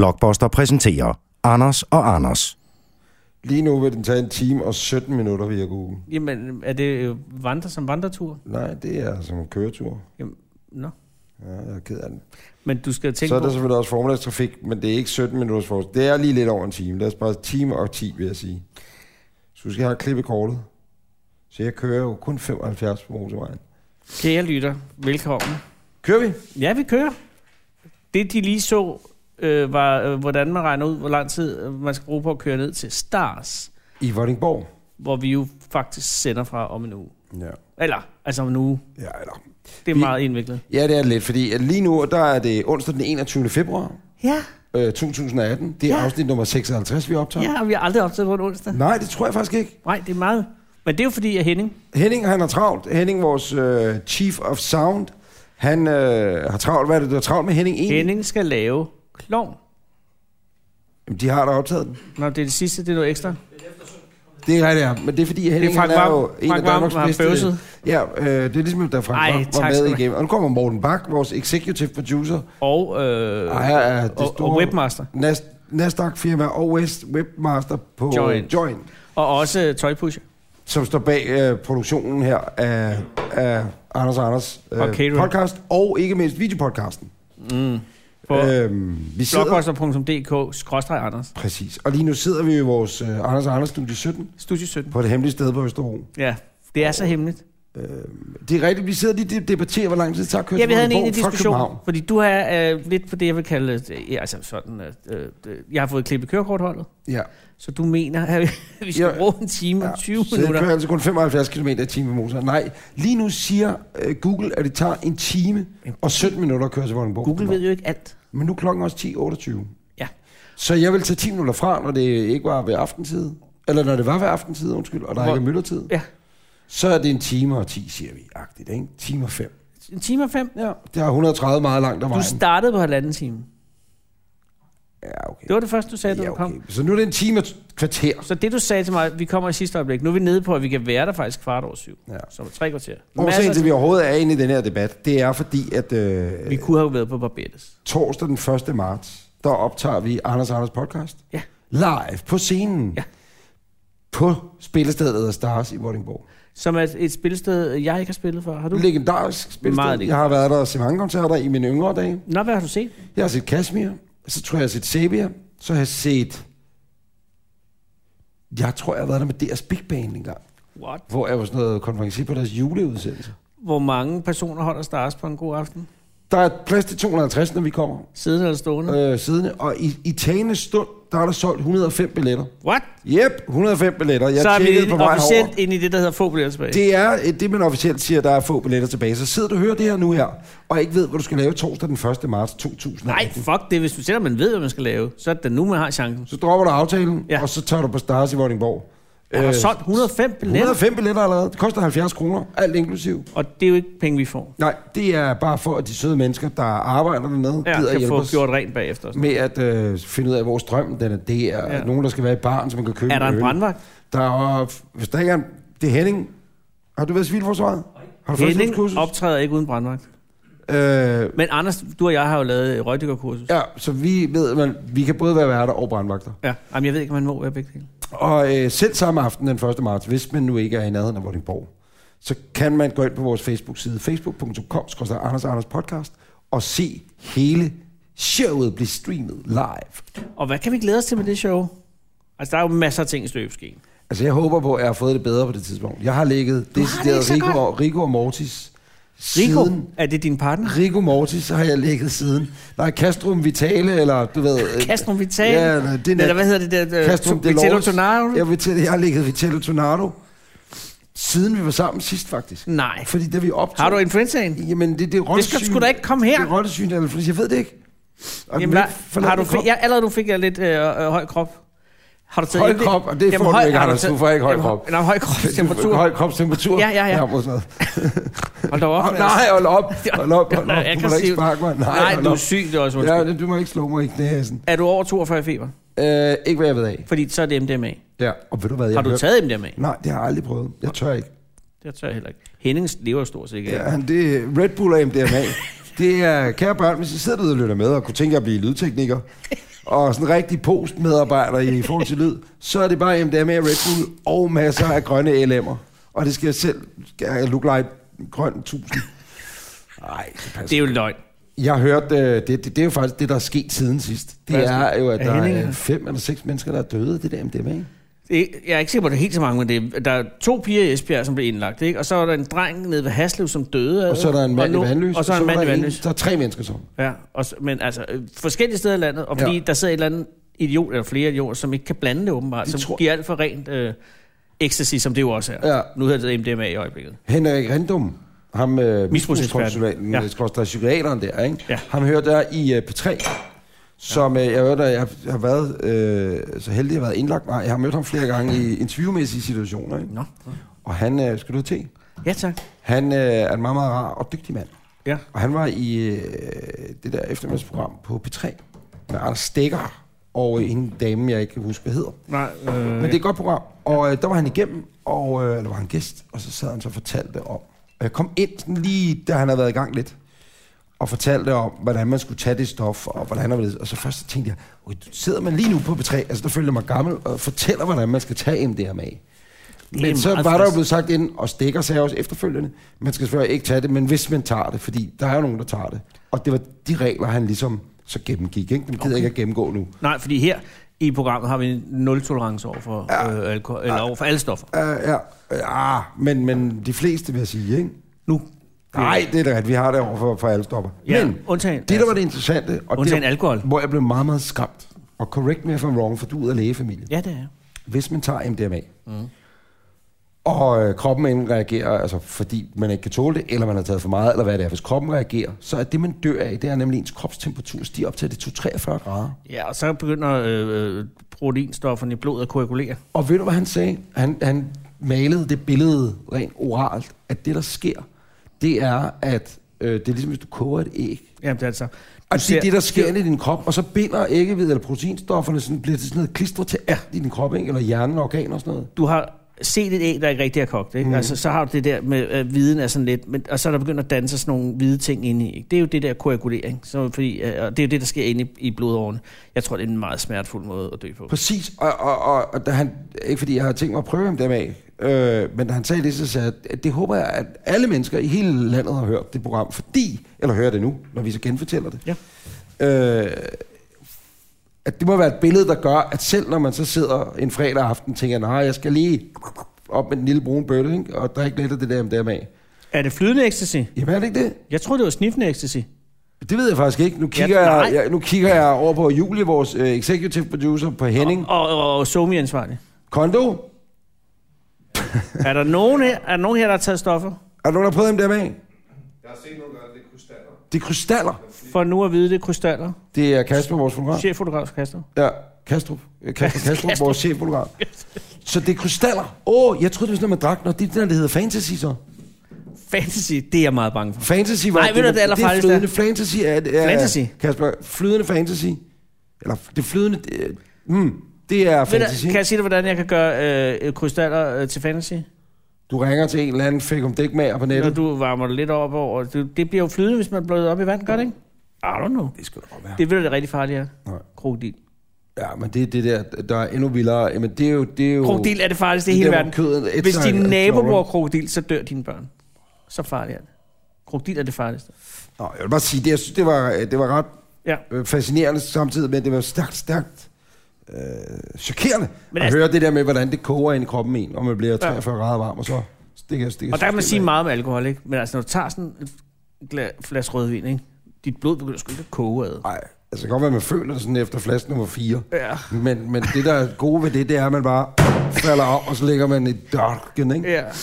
Blockbuster præsenterer Anders og Anders. Lige nu vil den tage en time og 17 minutter, vil jeg gå ugen. Jamen, er det øh, vandre som vandretur? Nej, det er som en køretur. Jamen, nå. Ja, jeg er ked af den. Men du skal tænke Så er der på... selvfølgelig også formidagstrafik, men det er ikke 17 minutters forskel. Det er lige lidt over en time. Lad os bare time og 10, vil jeg sige. Så du skal have klippet kortet. Så jeg kører jo kun 75 på motorvejen. Kære lytter, velkommen. Kører vi? Ja, vi kører. Det, de lige så, øh, var, øh, hvordan man regner ud, hvor lang tid øh, man skal bruge på at køre ned til Stars, I Vordingborg. hvor vi jo faktisk sender fra om en uge. Ja. Eller, altså om en uge. Ja, eller. Det er Vi- vi... meget indviklet. ja, det er det lidt, fordi at lige nu, der er det onsdag den 21. februar Ja, øh, 2018. Det er ja. Ja. afsnit nummer 56, vi optager. ja og vi har aldrig optaget på en onsdag. Nej, det tror jeg faktisk ikke. Nej, det er meget. Men det er jo fordi, at Henning... Henning, han har travlt. Henning, vores øh, chief of sound, han øh, har travlt. Hvad er det, du har travlt med Henning egentlig? Henning skal lave klovn. Jamen, de har da optaget den. Nå, det er det sidste, det er noget ekstra. Det er rigtigt, ja. Men det er fordi, Henning, Det er Frank han er Hvam. jo en Frank af Danmarks Hvam har bedste... bøvset. Ja, øh, det er ligesom, da Frank Ej, Hvam var tak skal med du have. igennem. Og nu kommer Morten Bak, vores executive producer. Og, øh, Ejer af det og, store- og webmaster. Nas- Nasdaq-firma og West Webmaster på Joint. Join Og også øh, tøjpusher. som står bag øh, produktionen her af, af Anders og Anders øh, Og catering. podcast, og ikke mindst videopodcasten. På øh, Øhm, vi sidder... blogbuster.dk, skråstrej Anders. Præcis. Og lige nu sidder vi i vores øh, Anders og Anders studie 17 Studie 17. på et hemmeligt sted på Østerbro. Ja, det er så hemmeligt. Det er rigtigt, vi sidder lige og debatterer, hvor lang tid det tager at køre Ja, til vi havde en egentlig Vordingborg fra diskussion, København. fordi du er øh, lidt på det, jeg vil kalde, øh, ja, altså sådan, øh, øh, jeg har fået klippet kørekortholdet, Ja. så du mener, at vi skal Ja. bruge en time og 20 så det kører minutter. altså kun 75 km i timen på motoren. Nej, lige nu siger øh, Google, at det tager en time og 17 minutter at køre til Vordingborg. Google ved jo ikke alt. Men nu er klokken også 10.28. Ja. Så jeg vil tage 10 minutter fra, når det ikke var ved aftentid. Eller når det var ved aftentid, undskyld, og der Hvor- ikke er myldretid. Ja, Så er det en time og 10, siger vi. Agtigt, ikke? Time og 5. en time og fem. Ja, det er 130 meget langt af Du vejen. startede på halvanden time. ja, okay. Det var det første, du sagde, da ja, du kom. okay. Så nu er det en time og et kvarter. Så det, du sagde til mig, vi kommer i sidste øjeblik. Nu er vi nede på, at vi kan være der faktisk kvart over syv. Ja. Så om tre kvarter. Årsagen Masser til, af at vi overhovedet er inde i den her debat, det er fordi, at tid. øh, vi kunne have været på Barbettes. torsdag den 1. marts, der optager vi Anders og Anders podcast. Ja. Live på scenen. Ja. På spillestedet der hedder Stars i Vordingborg. Som er et spilsted, jeg ikke har spillet før. Har du? Legendarisk Meget spillested. Jeg legendarisk. har været der og set mange koncerter i mine yngre dage. Nå, hvad har du set? Jeg har set Kashmir, så tror jeg, jeg har set Sabia, så har jeg set... Jeg tror, jeg har været der med deres Big Band engang, What? hvor jeg var sådan noget konferencier på deres juleudsendelse. Hvor mange personer holder Stars på en god aften? Der er plads til 250, når vi kommer Siddende eller stående? øh, siddende, og i, i tagende stund, der er der solgt 105 billetter. What? Yep, 105 billetter. Jeg så er tjekkede vi på vej officielt over. ind i det, der hedder få billetter tilbage. Det er øh, det, man officielt siger, der er få billetter tilbage. Så sidder du og hører det her nu her, og ikke ved, hvad du skal lave torsdag den 1. marts 2018. Nej, fuck det. Hvis du selvom man ved, hvad man skal lave, så er det da nu, man har chancen. Så dropper du aftalen, ja. Ja. og så tager du på Stars i Vordingborg. Øh, Jeg har solgt 105 billetter, 105 billetter allerede. Det koster 70 kroner, alt inklusiv. og det er jo ikke penge, vi får. Nej, det er bare for, at de søde mennesker, der arbejder dernede, ja, gider Ja, kan hjælpe få os gjort rent bagefter. og sådan med at øh, finde ud af, hvor strømmen den er. Det er ja. Ja. nogen, der skal være i baren, så man kan købe noget. Er der en øl. brandvagt? Der er, hvis der ikke er en, det er Henning. Har du været i civilforsvaret? Har du Henning førstehjælpskursus? optræder ikke uden brandvagt. Øh, Men Anders, du og jeg har jo lavet et røgdykkerkursus. ja, så vi ved, man, vi kan både være værter og brandvagter. Ja. Jamen, jeg ved ikke, om man må være begge dele. Og øh, selv samme aften den 1. marts, hvis man nu ikke er i nærheden af Vordingborg, så kan man gå ind på vores Facebook-side, facebook.com, Anders Anders Podcast, og se hele showet blive streamet live. Og hvad kan vi glæde os til med det show? Altså, der er jo masser af ting i støbeskeen. Altså, jeg håber på, at jeg har fået det bedre på det tidspunkt. Jeg har ligget decideret så Rico, og- Rico og Mortis Rico, siden... er det din partner? Rico Mortis har jeg ligget siden. Nej, Castrum Vitale, eller du ved... øh, Castrum Vital? Ja, det er nat- Eller hvad hedder det der? Castrum øh, Vitello Delors. Tonaro? Jeg, Vitale, jeg har ligget Vitello Tornado, siden vi var sammen sidst, faktisk. Nej. Fordi da vi optog... Har du influenzaen? Jamen, det, det er Det skal du sgu da ikke komme her. Det er rottesyn, eller fordi jeg ved det ikke. Og Jamen, den hvad, vil ikke forlade har du min fik, krop. ja, allerede nu fik jeg lidt øh, øh, høj krop. Har du taget Høj ikke det? krop, og det får du ikke, har Anders. taget- Du får ikke høj jamen, krop. Nej, høj krop, temperatur. Høj kropstemperatur. Ja, ja, ja. mod sådan noget. Hold da op. altså. Åh, Anders. nej, hold op. Hold op, hold op. Du Det er må da ikke aggressivt. sparke mig. Nej, Nej, hold du op. er syg, det er også undskyld. Ja, du må ikke slå mig i knæsen. Er du over 42 i feber? Øh, ikke hvad jeg ved af. Fordi så er det MDMA. Ja, og ved du hvad, jeg Har du hørte- taget MDMA? Nej, det har jeg aldrig prøvet. Jeg tør ikke. Jeg tør jeg heller ikke. Henning lever stort set ikke. af det. Ja, det er Red Bull og MDMA. Det er, kære børn, hvis I sidder derude og lytter med og kunne tænke jer at blive lydtekniker, og sådan rigtig postmedarbejder i forhold til lyd, så er det bare MDMA, Red Bull og masser af grønne LM'er. Og det skal selv skal look like grøn 1000. Nej, det passer. Det er jo løgn. Jeg har hørt, øh, det, det, det er jo faktisk det, der er sket siden sidst. Hvad Det er er jo, at Er der Henning- er øh, fem eller seks mennesker, der er døde af det der MDMA. Det- Jeg er ikke sikker på, at det er helt så mange, men det er, der er to piger i Esbjerg, som blev indlagt, ikke? og så er der en dreng nede ved Haslev, som døde. af Og så er det, der en mand i lå- vandløs. Og så er der en mand i vandløs. Der er tre mennesker som. Ja, og, s- men altså øh, forskellige steder i landet, og fordi Ja. ja. der sidder et eller andet idiot, eller flere idioter, som ikke kan blande det åbenbart, Det som tror- tror... giver alt for rent øh, ecstasy, som det jo også er. Ja. Nu hedder det MDMA i øjeblikket. Henrik Rendum, ham øh, misbrugskonsulenten, Misbrugseksperten. ja. Ja. der psykiateren der, ikke? Ja. Ham hørte jeg i øh, P3, som øh, jeg hørte, jeg har, jeg har været øh, så heldig, at jeg har været indlagt. Nej, jeg har mødt ham flere gange i interviewmæssige situationer, ikke? Nå. Og han, øh, skal du have te? Ja, tak. Han øh, er en meget, meget rar og dygtig mand. Ja. Og han var i øh, det der eftermiddagsprogram på P3 med Anders Stikker og en dame, jeg ikke kan huske, hvad hedder. Nej, øh, Men det er et godt program. Og øh, der var han igennem, og, øh, eller var han gæst, og så sad han så og fortalte om, øh, kom ind sådan lige, da han havde været i gang lidt, og fortalte om, hvordan man skulle tage det stof, og hvordan og, og så først så tænkte jeg, okay, du sidder man lige nu på B3, altså der føler jeg mig gammel, og fortæller, hvordan man skal tage MDMA. Men Det er så meget var der jo frisk. blevet sagt inden, og stikker sagde også efterfølgende, man skal selvfølgelig ikke tage det, men hvis man tager det, fordi der er jo nogen, der tager det. Og det var de regler, han ligesom så gennemgik, ikke? Dem gider okay. jeg ikke at gennemgå nu. nej, fordi her i programmet har vi en nul-tolerance over for, øh, alkohol, eller over for alle stoffer. Uh, ja, ja men, men de fleste vil jeg sige, ikke? Nu. Nej, det er da rigtigt. Vi har det over for, for alle stopper. Ja, men undtagen. altså, det, der var det interessante, og Undtagen det, alkohol. hvor jeg blev meget, meget skræmt, og correct me if I'm wrong, for du er ud af lægefamilie. Ja, det er jeg. Hvis man tager MDMA, mm. og øh, kroppen enten reagerer, altså fordi man ikke kan tåle det, eller man har taget for meget, eller hvad det er, hvis kroppen reagerer, så er det, man dør af, det er nemlig ens kropstemperatur stiger op til det 243 grader. Ja, og så begynder øh, øh, proteinstofferne i blodet at koagulere. Og ved du, hvad han sagde? Han, han malede det billede rent oralt, at det, der sker, det er, at øh, det er ligesom, hvis du koger et æg. Jamen, det er altså... Og det er ser- det, der sker inde i din krop, og så binder æggehvid eller proteinstofferne, sådan, bliver til sådan noget klistret til alt i din krop, ikke? eller hjernen og organer og sådan noget. du har set et æg, der ikke rigtig er kogt, ikke? Mm. Altså, så har du det der med, at viden er sådan lidt, men, og så er der begyndt at danse sådan nogle hvide ting inde i. Ikke? Det er jo det der koagulering, så, fordi, øh, og det er jo det, der sker inde i, i blodårene. Jeg tror, det er en meget smertefuld måde at dø på. Præcis, og, og, og, og da han, ikke fordi jeg har tænkt mig at prøve ham dem af, øh, men da han sagde det, så sagde jeg, at det håber jeg, at alle mennesker i hele landet har hørt det program, fordi, eller hører det nu, når vi så genfortæller det, Ja. øh, at det må være et billede, der gør, at selv når man så sidder en fredag aften, tænker, nej, jeg skal lige op med den lille brune bølle, ikke? og der er ikke lidt af det der MDMA. Er det flydende ecstasy? Jamen er det ikke det? Jeg tror, det var sniffende ecstasy. Det ved jeg faktisk ikke. Nu kigger, Ja, ja, nej. jeg, jeg, nu kigger jeg over på Julie, vores øh, executive producer på Henning. Og, og, og somi ansvarlig. Kondo, er, der nogen her, er der nogen her, der har taget stoffer? er der nogen, der har prøvet MDMA? Jeg har set nogle gange, det er krystaller. Det er krystaller. For nu at vide, det er krystaller. Det er Kasper, vores fotograf. Cheffotograf Kaster. Ja, Kastrup. Øh, Kasper Kastrup, vores cheffotograf. Så det er krystaller. Åh, oh, jeg troede, det var sådan, noget, man drak. Nå, det er den der, der hedder fantasy så. Fantasy, det er jeg meget bange for. Fantasy var Nej, ved du, det allerfarligste Det er? er flydende fantasy. Er, er, Fantasy? Kasper, flydende fantasy. Eller det flydende... Det, mm, det er Ved fantasy. du, kan jeg sige dig, hvordan jeg kan gøre øh, krystaller øh, til fantasy? Du ringer til en eller anden fik om dækmager på nettet. Når du varmer det lidt op over. Det, det bliver jo flydende, hvis man bløder op i vand, gør det ikke? I don't know. Det skal du godt være. Det ved du, det er rigtig farligt her. Nej. Krokodil. Ja, men det er det der, der er endnu vildere. Men det er jo... Det er jo Krokodil er det farligste i hele der, hvor verden. kødet ætser Hvis din et- et nabo knogler. bruger krokodil, så dør dine børn. Så farligt er det. Krokodil er det farligste. Nå, jeg vil bare sige, det, jeg synes, det var, det var ret Ja. øh, fascinerende samtidig med, at det var stærkt, stærkt øh, chokerende Men at altså- høre det der med, hvordan det koger ind i kroppen en, og man bliver 43 grader varm, og så stikker stikker Og der kan man stikker sige af. meget om alkohol, ikke? Men altså, når du tager sådan et gla- flaske rødvin, ikke? Dit blod begynder sgu ikke at koge ad. Nej, altså det kan godt være, at man føler det sådan efter flaske nummer 4. Ja. Men, men det, der er gode ved det, det er, at man bare falder om, og så ligger man i dørken, ikke? Ja.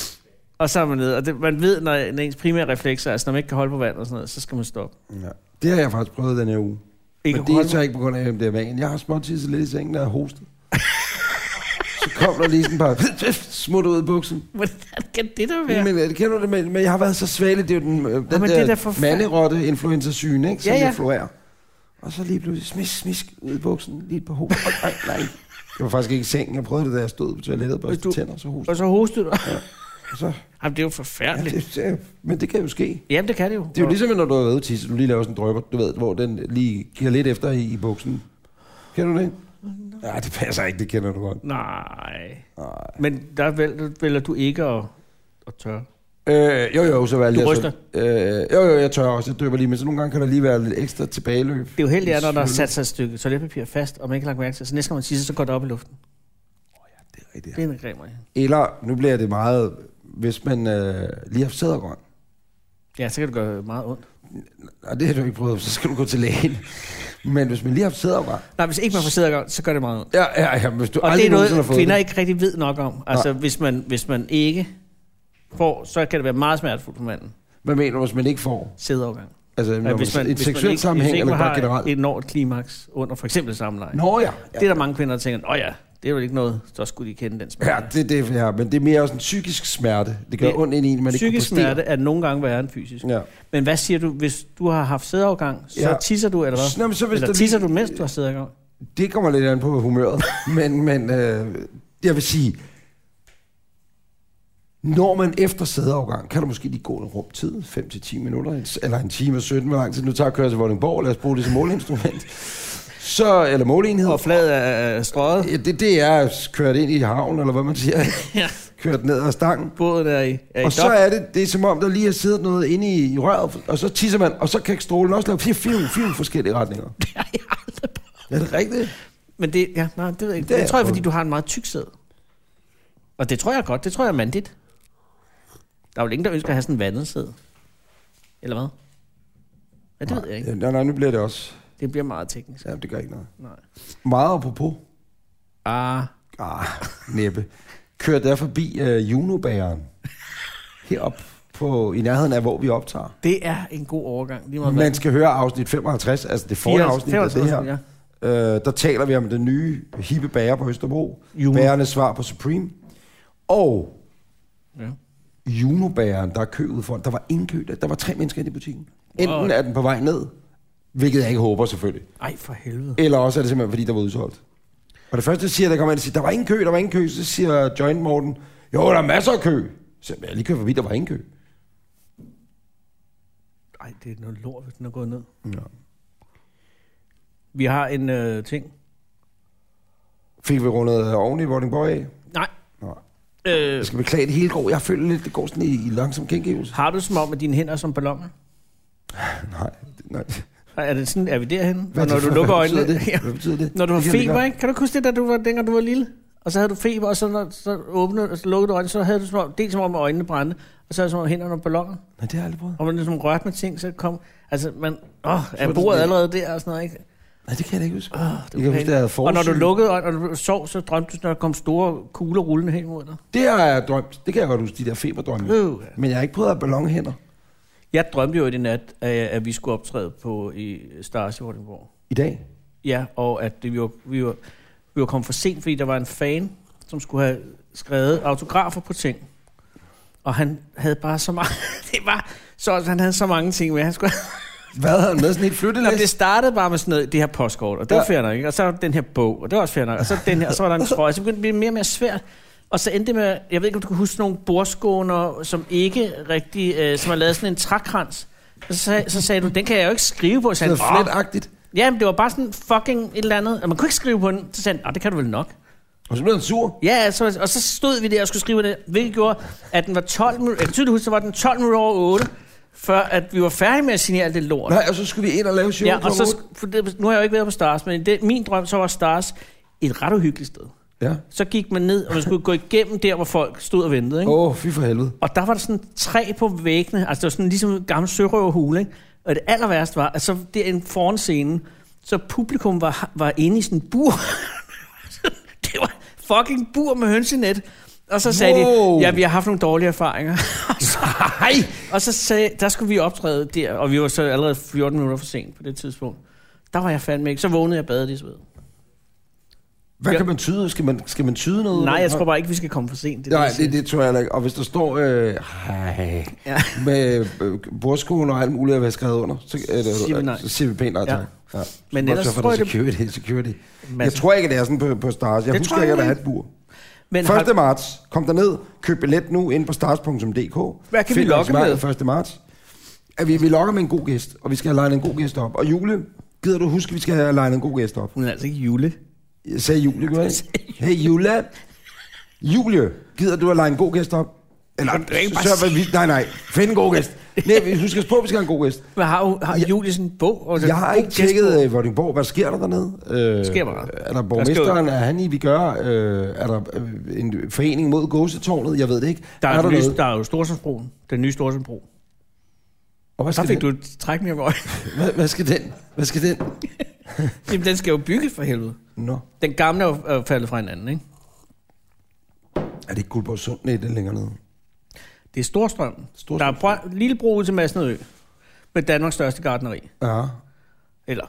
Og så er man nede. Og det, man ved, når når ens primære reflekser, altså når man ikke kan holde på vand og sådan noget, så skal man stoppe. Ja. Det har jeg faktisk prøvet den her uge. Ikke men at det er holde- så ikke på grund af MDMA'en. Jeg har småtisset lidt i sengen, der er hostet. så kom der lige sådan et par smut ud af buksen. Hvordan kan det der Ja. være? Men øh, kender du det med, men jeg har været så svagelig, det er jo den, øh, den men der, det er da der forfær- manderotte influenza-syne, ikke, som ja, Ja, ja. ja. florerer. Og så lige pludselig smisk, smisk ud i buksen, lige på hovedet. Oj, nej, nej. Det var faktisk ikke i sengen, jeg prøvede det, da jeg stod på toilettet og Hvis børste du- tænder, så hostede. Og så hostede du. Så, Jamen, det er ja, jo forfærdeligt. det, det, men det kan jo ske. Jamen, det kan det jo. Det er jo ligesom, når du har været ude tisse, du lige laver sådan en drøber, du ved, hvor den lige giver lidt efter i, i buksen. Kender du det? Nej, det passer ikke, det kender du godt. Nej. Nej. Men der vælger, vælger du ikke at, at tørre. Øh, jo, jo, så valgte Du jeg så- Øh, jo, jo, jeg tør også, jeg døber lige, men så nogle gange kan der lige være lidt ekstra tilbageløb. Det er jo heldigt, at når der er sat sig et stykke toiletpapir fast, og man ikke har lagt mærke til det, så næste gang man tisser, så går det op i luften. Det er rigtigt. Det er en grim regel. Eller, nu bliver det meget, hvis man øh, lige har sædergrøn. Ja, så kan det gøre meget ondt. Og det har du ikke prøvet, så skal du gå til lægen. Men hvis man lige har haft sædergrøn. Nej, hvis ikke man får sæddergang, så gør det meget ondt. Ja, ja, ja, men hvis du Og det aldrig er nogensinde har noget, fået kvinder det. ikke rigtig ved nok om. Altså, hvis man, hvis man ikke får, så kan det være meget smertefuldt for manden. Hvad mener du, hvis man ikke får? Sædeovergang. Altså, når hvis man, en seksuel sammenhæng, hvis ikke eller man bare har generelt? et enormt klimaks under for eksempel samleje. No. Nå ja. Det er der mange kvinder, der tænker, åh ja, det er jo ikke noget, så skulle de kende den smerte. Ja, det er det, ja. Men det er mere også en psykisk smerte. Det gør Det- det, ondt ind i en, man ikke kan Psykisk præstere. smerte er nogle gange værre end fysisk. Ja. Men hvad siger du, hvis du har haft sædeafgang, så ja. Ja. tisser du, eller hvad? Nå, men så hvis eller der lige- tisser du, mens du har sædeafgang? Det kommer lidt an på humøret. men men øh, jeg vil sige, når man efter sædeafgang, kan du måske lige gå en rum tid, 5-10 minutter, en- eller en time og 17, hvor lang tid nu tager at køre til Vordingborg, lad os bruge det som måleinstrument. Så, eller måleenhed. Og flad er er strøget, Ja, det, det er kørt ind i havnen, eller hvad man siger. Ja. kørt ned ad stangen. båden er i, er Og i dop. så er det, det er som om, der lige har siddet noget inde i, i røret, og så tisser man, og så kan strålen også lave fire, fire, fire forskellige retninger. Det har jeg aldrig prøvet. Er det rigtigt? Men det, ja, nej, det, ved jeg ikke. Det det, er det tror jeg, prøvet. fordi du har en meget tyk sæd. Og det tror jeg godt, det tror jeg er mandigt. Der er jo ingen, der ønsker at have sådan en vandet sæd. Eller hvad? Ja, det ved jeg ikke. Ja, nej, nej, nu bliver det også. Det bliver meget teknisk. Ja, det gør ikke noget. Nej. Meget apropos. Ah, Ah, næppe. Kørte jeg forbi øh, Junobæren. Herop på, i nærheden af, hvor vi optager. det er en god overgang. Lige meget hvad. Man skal høre afsnit 55, altså det forrige afsnit af det 54, her. Ja. Øh, der taler vi om den nye hippe bager på Østerbro. Juno. Bærernes svar på Supreme. Og Ja. Junobæren, der er kø ude foran. Der var ingen kø. Der Der var tre mennesker inde i butikken. Wow. Enten er den på vej ned, hvilket jeg ikke håber selvfølgelig. Ej, for helvede. Eller også er det simpelthen, fordi der var udsolgt. Og det første, jeg siger, der kommer ind og siger, der var ingen kø, der var ingen kø. Så siger Joint Morten, jo, der er masser af kø. Så jeg "Jeg er lige kørt forbi, der var ingen kø. Ej, det er noget lort, hvis den er gået ned. Ja. Vi har en øh, ting. Fik vi rundet øh, oven i Vordingborg af? Nej. Nå. Øh, Jeg skal beklage det hele går. Jeg føler lidt, det går sådan i, i langsom gengivelse. har du som om, at dine hænder er som balloner? Nej, det- nej. Er det sådan, er vi derhen? Hvad Hvad er når det du for- lukker hvad betyder øjnene, det? Ja. Hvad betyder det? når du har Det kan jeg feber, godt. ikke? kan du ikke huske det, da du var, dengang du var lille? Og så havde du feber, og så, når, så, åbnede, så lukkede du øjnene, så havde du som om, dels som om, at øjnene brændte, og så er det som om hænderne og balloner. Nej, det har jeg aldrig prøvet. Og man ligesom rørte med ting, så kom... Altså, man... Åh, det er bordet sådan allerede der og sådan noget, ikke? Nej, det kan jeg da ikke huske. Åh, det jeg kan huske, at jeg havde Og når du forsyn. lukkede øjnene, og du sov, så drømte du, når der kom store kugler rullende hen mod dig. Det har jeg drømt. Det kan jeg godt huske, de der feberdrømme. Øh. Men jeg har ikke prøvet at have ballonhænder. Jeg drømte jo i den nat, at at vi skulle optræde på i Stars i Vordingborg. I dag? Ja, og at det, vi, var, vi, var, vi var kommet for sent, fordi der var en fan, som skulle have skrevet autografer på ting. Og han havde bare så mange... det var så, han havde så mange ting med. Han skulle, Hvad havde han med? Sådan et Nå, det flyttelæs? startede bare med sådan noget, det her postkort, og det var Ja. fair nok, ikke? Og så var den her bog, og det var også fair nok, og så den her, og så var der en trøje, så begyndte det at blive mere og mere svært. Og så endte det med, jeg ved ikke, om du kan huske nogle bordskåner, som ikke rigtig, øh, som har lavet sådan en trækrans. Og så, sag- så sagde du, den kan jeg jo ikke skrive på. Så Det sagde er han, "Åh, fletagtigt. ja, men det var bare sådan fucking et eller andet. Og man kunne ikke skrive på den. Så sagde han, "Nå, det kan du vel nok. Og så blev han sur. Ja, så, og så stod vi der og skulle skrive det, hvilket gjorde, at den var 12 minutter, jeg kan tydeligt huske, så var den 12 minutter over 8, før at vi var færdige med at signere alt det lort. Nej, og så skulle vi ind og lave show. Ja, og så, klokken sk- for det, nu har jeg jo ikke været på Stars, men det, min drøm så var Stars et ret uhyggeligt sted. otte. Ja. Så gik man ned, og man skulle gå igennem der, hvor folk stod og ventede. Ikke? Åh, oh, fy for helvede. Og der var der sådan træ på væggene, altså det var sådan ligesom en gammel sørøverhule. Ikke? Og det aller værste var, at så derinde foran scenen, så publikum var, var inde i sådan en bur. det var fucking bur med hønsenet. Og så sagde Wow. de, ja, vi har haft nogle dårlige erfaringer. og, så, Hej! og så sagde, der skulle vi optræde der, og vi var så allerede 14 minutter for sent på det tidspunkt. Der var jeg fandme ikke. Så vågnede jeg ligesom. badet i sved. Hvad Ja. kan man tyde? Skal man, skal man tyde noget? Nej, jeg tror bare ikke, vi skal komme for sent. Det, Nej, jeg siger. det, det tror jeg heller ikke. Og hvis der står, øh, hej, Ja. ja. med øh, bordskolen og alt muligt at være skrevet under, så, øh, Så siger vi nej. så siger vi pænt nej Ja. tak. Ja. Ja. Men ellers så for tror der jeg, det- security, security. Masse- Jeg tror ikke, det er sådan på, på Stars. Jeg Det det husker tror jeg ikke, at der er heller et bur. Men har- 1. marts, kom der ned, køb billet nu ind på stars.dk. Hvad kan vi Find lokke arrangementet med? 1. marts. At vi, vi lokker med en god gæst, og vi skal have legnet en god gæst op. Og Jule, gider du huske, at vi skal have legnet en god gæst op? Hun er altså ikke jule. Jeg sagde Julie, gjorde jeg ikke? Hey Jule, Julie, gider du at lege en god gæst op? Eller, Kan du ikke bare sørg, vi, nej, nej, find en god gæst. Nej, vi husker på, at vi skal have en god gæst. Men har, hun- har Julie sådan en bog? Og Jeg har Altså, god ikke gæstbog? tjekket øh, Vordingborg. Hvad sker der dernede? Øh, Sker meget. Er der borgmesteren? Der Er han i, vi gør? Øh, er der øh, en forening mod gåsetårnet? Jeg ved det ikke. Der er, er, der, nye, noget? der er jo Storsundsbroen. Den nye Storsundsbro. Og hvad Der skal, fik den? du et træk mere med øjnene. Hvad, hvad skal den? Hvad skal den? Jamen, den skal jo bygges for helvede. Nå, Den gamle er jo er jo faldet fra hinanden, ikke? er det ikke Guldborg Sund? Nej, det er længere nede. Det er Storstrømmen. Storstrømmen. Der er brøn, lille bro ud til Masnedø. Med Danmarks største gardneri. Ja. Eller...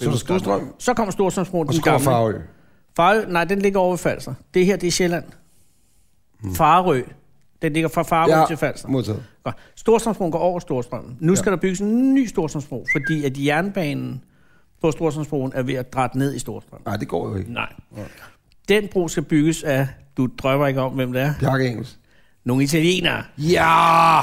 Så er der Storstrøm, Så kommer Storstrømsbroen, og den så kommer gamle. Farø. Farø, nej, den ligger over ved Falster. Det her, det er Sjælland. Hmm. Farø. Den ligger fra Farø ja. til Falster. modtaget. Godt. Storstrømsbroen går over Storstrømmen. Nu skal ja. der bygges en ny Storstrømsbro, fordi at jernbanen på Storstrømsbroen er ved at drætte ned i Storstrømmen. Nej, det går jo ikke. Nej. Den bro skal bygges af, du drømmer ikke om, hvem det er, Bjarke Engels. nogle italienere. Ja!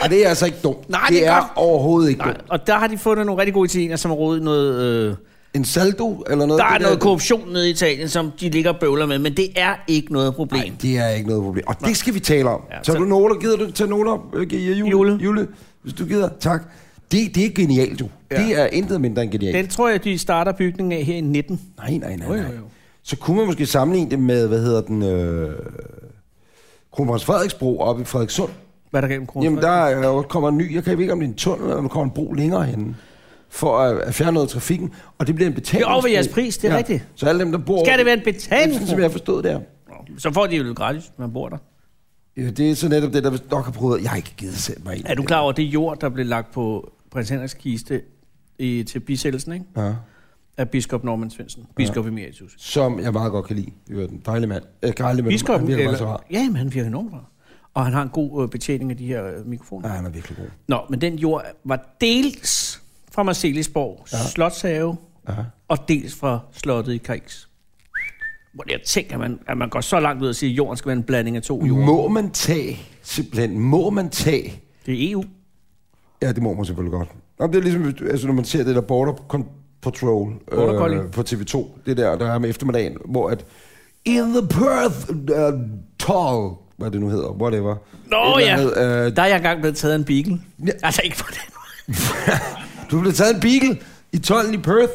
Og det er altså ikke dumt. Nej, det det er er godt. overhovedet ikke Nej. dumt. Og der har de fundet nogle rigtig gode italienere, som har rodet noget... Øh, En saldo eller noget? der er det noget korruption nede i Italien, som de ligger og bøvler med, men det er ikke noget problem. Nej, det er ikke noget problem. Og det skal vi tale om. Ja, Ja, så så- du noter, gider du tage noter op? Øh, gi- Jule, Jule. Jule. Jule, hvis du gider. Tak. Det, det er genialt, du. Ja. Ja. Det er intet mindre end genialt. Den... Den tror jeg, de starter bygningen af her i 19. Nej, nej, nej, Jo, nej. jo, jo. Så kunne man måske sammenligne det med, hvad hedder den, øh, Kronprins Frederiksbro oppe i Frederikssund. Hvad er der gennem kronen? Jamen, der er- øh, kommer en ny, jeg kan ikke om det er en tunnel, eller om der kommer en bro længere henne, for at, at fjerne noget af trafikken, og det bliver en betaling. Det er over ved jeres pris, det er rigtigt. Så alle dem, der bor... Skal det være en Sådan, betaling? som jeg forstod det her. Så får de jo lidt gratis, man bor der. Ja, Det er så netop det, der nok har prøvet. Jeg har ikke givet sætte mig ind. i Er du det. klar over det jord, der blev lagt på prins Henriks kiste i, til bisættelsen, ikke? Ja. Af biskop Norman Svendsen, biskop ja. emeritus. som jeg meget godt kan lide. Det var en dejlig mand. Øh, dejlig mand. Biskop, han virker bare så rar. ja, men han virker enormt rar. Og han har en god øh, betjening af de her øh, mikrofoner. Ja, Ja. han er virkelig god. Nå, men den jord var dels fra Marcelisborg ja. Slotshave, Ja. og dels fra slottet i Krigs. Hvor jeg tænker, at man, at man går så langt ud og siger, at jorden skal være en blanding af Mhm. to jorder. Må man tage, simpelthen, må man tage... Det er E EU. Ja, det må man selvfølgelig godt. Nå, det er ligesom, hvis du- altså, når man ser det der border con- patrol øh, Border Collie. på TV2, det der, der er om eftermiddagen, hvor at... In the Perth uh, Toll, hvad det nu hedder, whatever. Nå Et ja, eller andet, øh, der er jeg engang blevet taget af en beagle. Ja. Ja. Altså ikke for det. du blev taget en beagle i tollen i Perth.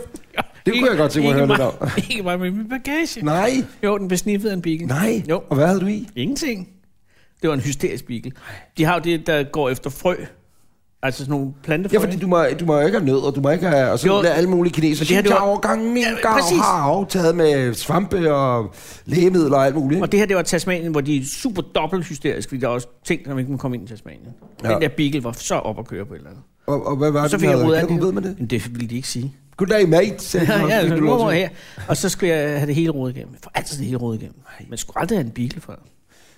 Det kunne jeg godt tænke mig at høre lidt om. Ikke bare med min bagage. Nej. Nej, Jo, den blev sniffet af en beagle. nej. Jo. Og hvad havde du i? Ingenting. Det var en hysterisk beagle. De har jo det, der går efter frø. Altså sådan nogle plantefrø. Ja, fordi du må, du må jo ikke have nødder, du må ikke have... Og så Jo. bliver alle mulige kineser. Men det her, det var- overgangen, min Ja, gav, præcis. har aftaget med svampe og lægemidler og alt muligt. Og det her, det var Tasmanien, hvor de er super dobbelt hysteriske, fordi der er også ting, som ikke må komme ind i Tasmanien. Ja. Ja. Den der beagle var så op at køre på et eller andet. Og, og hvad var Og det, så du fik jeg havde? rodet Kan alt du ved ud. med det? Men det ville de ikke sige. Goddag, mate, sagde Ja, han, og så ja, fik så du lov mor til- her. Og så skulle jeg have det hele rodet igennem. For altid det hele rodet igennem. Man skulle aldrig have en beagle før.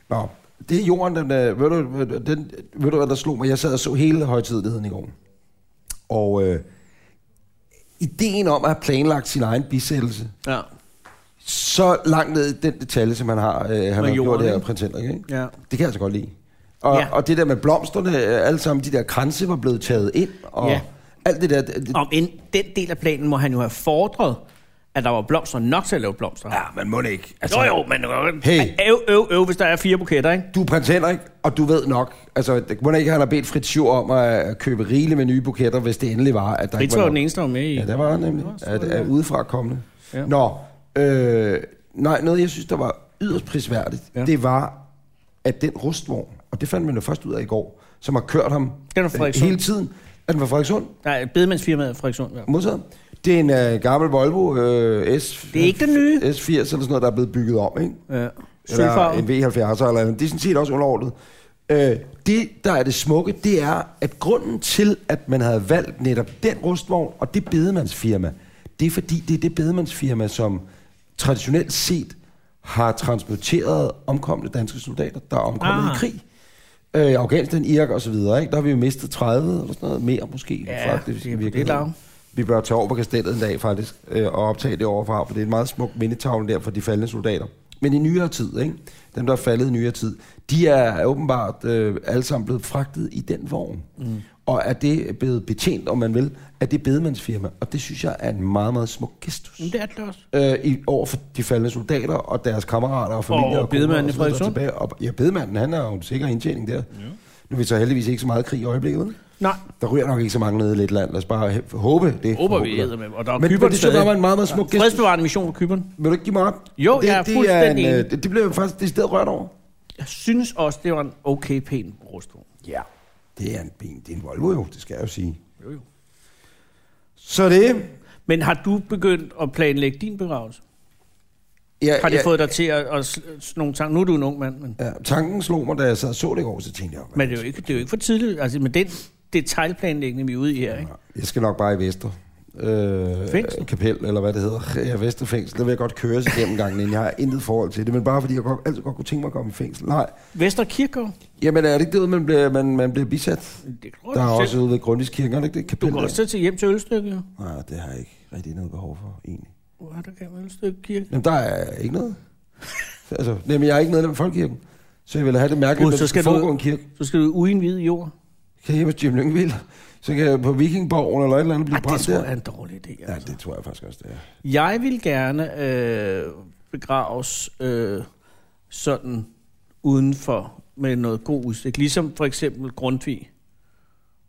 Nå, det er jorden, den, øh, ved, du, øh, den, ved du, hvad der slog mig? Jeg sad og så hele højtideligheden i går. Og øh, ideen om at have planlagt sin egen bisættelse, Ja. så langt ned i den detalje, som han har, øh, han har gjort jorden, her, ikke? prins Henrik, ikke? ja. Det kan jeg altså godt lide. Og, ja. Ja. og det der med blomsterne, øh, alle sammen de der kranse var blevet taget ind, og ja. Ja. alt det der. Det, det, Om end den del af planen må han jo have fordret, at der var blomster nok til at lave blomster. Ja. ja, man må det ikke. Altså, Jo jo, men Hey. hey. øv, øv, øv, hvis der er fire buketter, ikke? Du er prins Henrik, og du ved nok. Altså, det- må det ikke, han har bedt Fritz Schur om at købe rigeligt med nye buketter, hvis det endelig var, at der Fritz ikke var var den eneste, der var med i. Ja, der var han nemlig. At, at udefra kommende. Ja. Ja. Nå, øh, nej, noget jeg synes, der var yderst prisværdigt, ja. Ja. det var, at den rustvogn, og det fandt man jo først ud af i går, som har kørt ham Den var øh, Frederikssund. hele tiden, at den var Frederikssund, Nej, bedemandsfirmaet Frederikssund. Ja. modtaget. Det er en øh, gammel Volvo øh, S, Det er ikke den nye. S80 eller sådan noget, der er blevet bygget om, ikke? Ja. Eller en Sølvfarvet. V70'er eller andet. Det er sådan set også underordnet. Øh, det, der er det smukke, det er, at grunden til, at man havde valgt netop den rustvogn og det bedemandsfirma, det er fordi, det er det bedemandsfirma, som traditionelt set har transporteret omkomne danske soldater, der er omkommet ah. Ah. i krig. Øh, Afghanistan, Irak og så videre, ikke? Der har vi jo mistet 30 eller sådan noget mere måske. Ja, det er på det virkelig. lav. Vi bør tage over på kastellet en dag faktisk, øh, og optage det overfra, for det er en meget smuk mindetavle der for de faldende soldater. men i nyere tid, ikke? dem der er faldet i nyere tid, de er åbenbart øh, alle sammen blevet fragtet i den vogn. Mm. Og er det blevet betjent, om man vil, af det bedemandsfirma. Og det synes jeg er en meget, meget smuk gestus. Men det er det også. Øh, i, over for de faldende soldater og deres kammerater og familier. Og koner bedemanden i så videre, der er Frederikssund? tilbage. Og, ja, bedemanden, han har jo en sikker indtjening der. Ja. Nu er vi så heldigvis ikke så meget krig i øjeblikket. vel? Nej, Der ryger nok ikke så mange nede i lidt land. Lad os bare he- håbe det. håber vi forhåbentlig. æder med. Og der er Men, men Kyberen det synes jeg stadig. var en meget, meget smuk gestus. Fredsbevarende mission på Kyberen. Vil du ikke give mig op? Jo, det, jeg er det er en, fuldstændig enig. øh, det, det blev jeg faktisk det sted rørt over. Jeg synes også, det var en okay pæn rustvogn. Ja. Det er en ben. Det er en Volvo jo, det skal jeg jo sige. Jo, jo. Så det... Men har du begyndt at planlægge din begravelse? Ja, Har det ja, fået dig til at, at sl- sådan nogle tanker? Nu er du en ung mand, men, Ja, tanken slog mig, da jeg sad og så det i går, så tænkte jeg... hvad- men det, er jo ikke, det er jo ikke for tidligt. Altså med den detaljplanlægning, vi er ude i her, ikke? Jeg skal nok bare i Vester. Øh, Fængsel? Kapel, eller hvad det hedder. Ja, Vesterfængsel. Der vil jeg godt køres igennem gangen, inden jeg har intet forhold til det. Men bare fordi jeg godt, altid godt kunne tænke mig at komme i fængsel. Nej. Vester Kirkegård? Jamen er det ikke det, man bliver, man, man bliver bisat? Det tror Der er du også selv. ude ved Grundiskirken, er det ikke det kapel? Du går også selv til hjem til Ølstykke, jo. Nej, det har jeg ikke rigtig noget behov for, egentlig. Hvor er der gammel Ølstykke Kirke? Jamen, der er ikke noget. altså, nej, men jeg er ikke medlem af Folkekirken. Så jeg vil have det mærkeligt, Gud, at så der skal skal du- foregå en kirke. Så skal du uden hvid jord. Kan jeg hjemme hos Jim Lyngvild? Så kan jeg på Vikingborgen eller et eller andet blive Ej, det brændt tror jeg er der. en dårlig idé. Ja, Altså. det tror jeg faktisk også, det er. Jeg vil gerne øh, begraves øh, sådan udenfor med noget god udsigt. Ligesom for eksempel Grundtvig.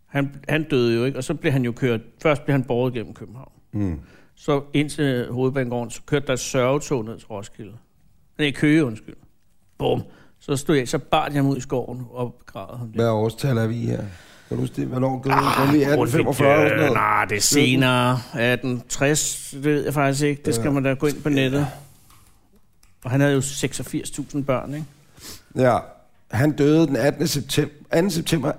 Han, han døde jo ikke, og så blev han jo kørt. Først blev han båret gennem København. Mm. Så ind til hovedbanegården, så kørte der et sørgetog ned til Roskilde. Nej, Køge, undskyld. Bum. Så stod jeg, så bar jeg ham ud i skoven og begravede ham. Hvad årstal er vi i her? Kan du huske det? Hvornår Ah, døde Grundtvig? 1845 eller sådan Øh, noget? nej, det er senere. 1860, det ved jeg faktisk ikke. Det skal man da gå ind på nettet. Og han havde jo 86.000 børn, ikke? Ja. Han døde den 18. september, 2. september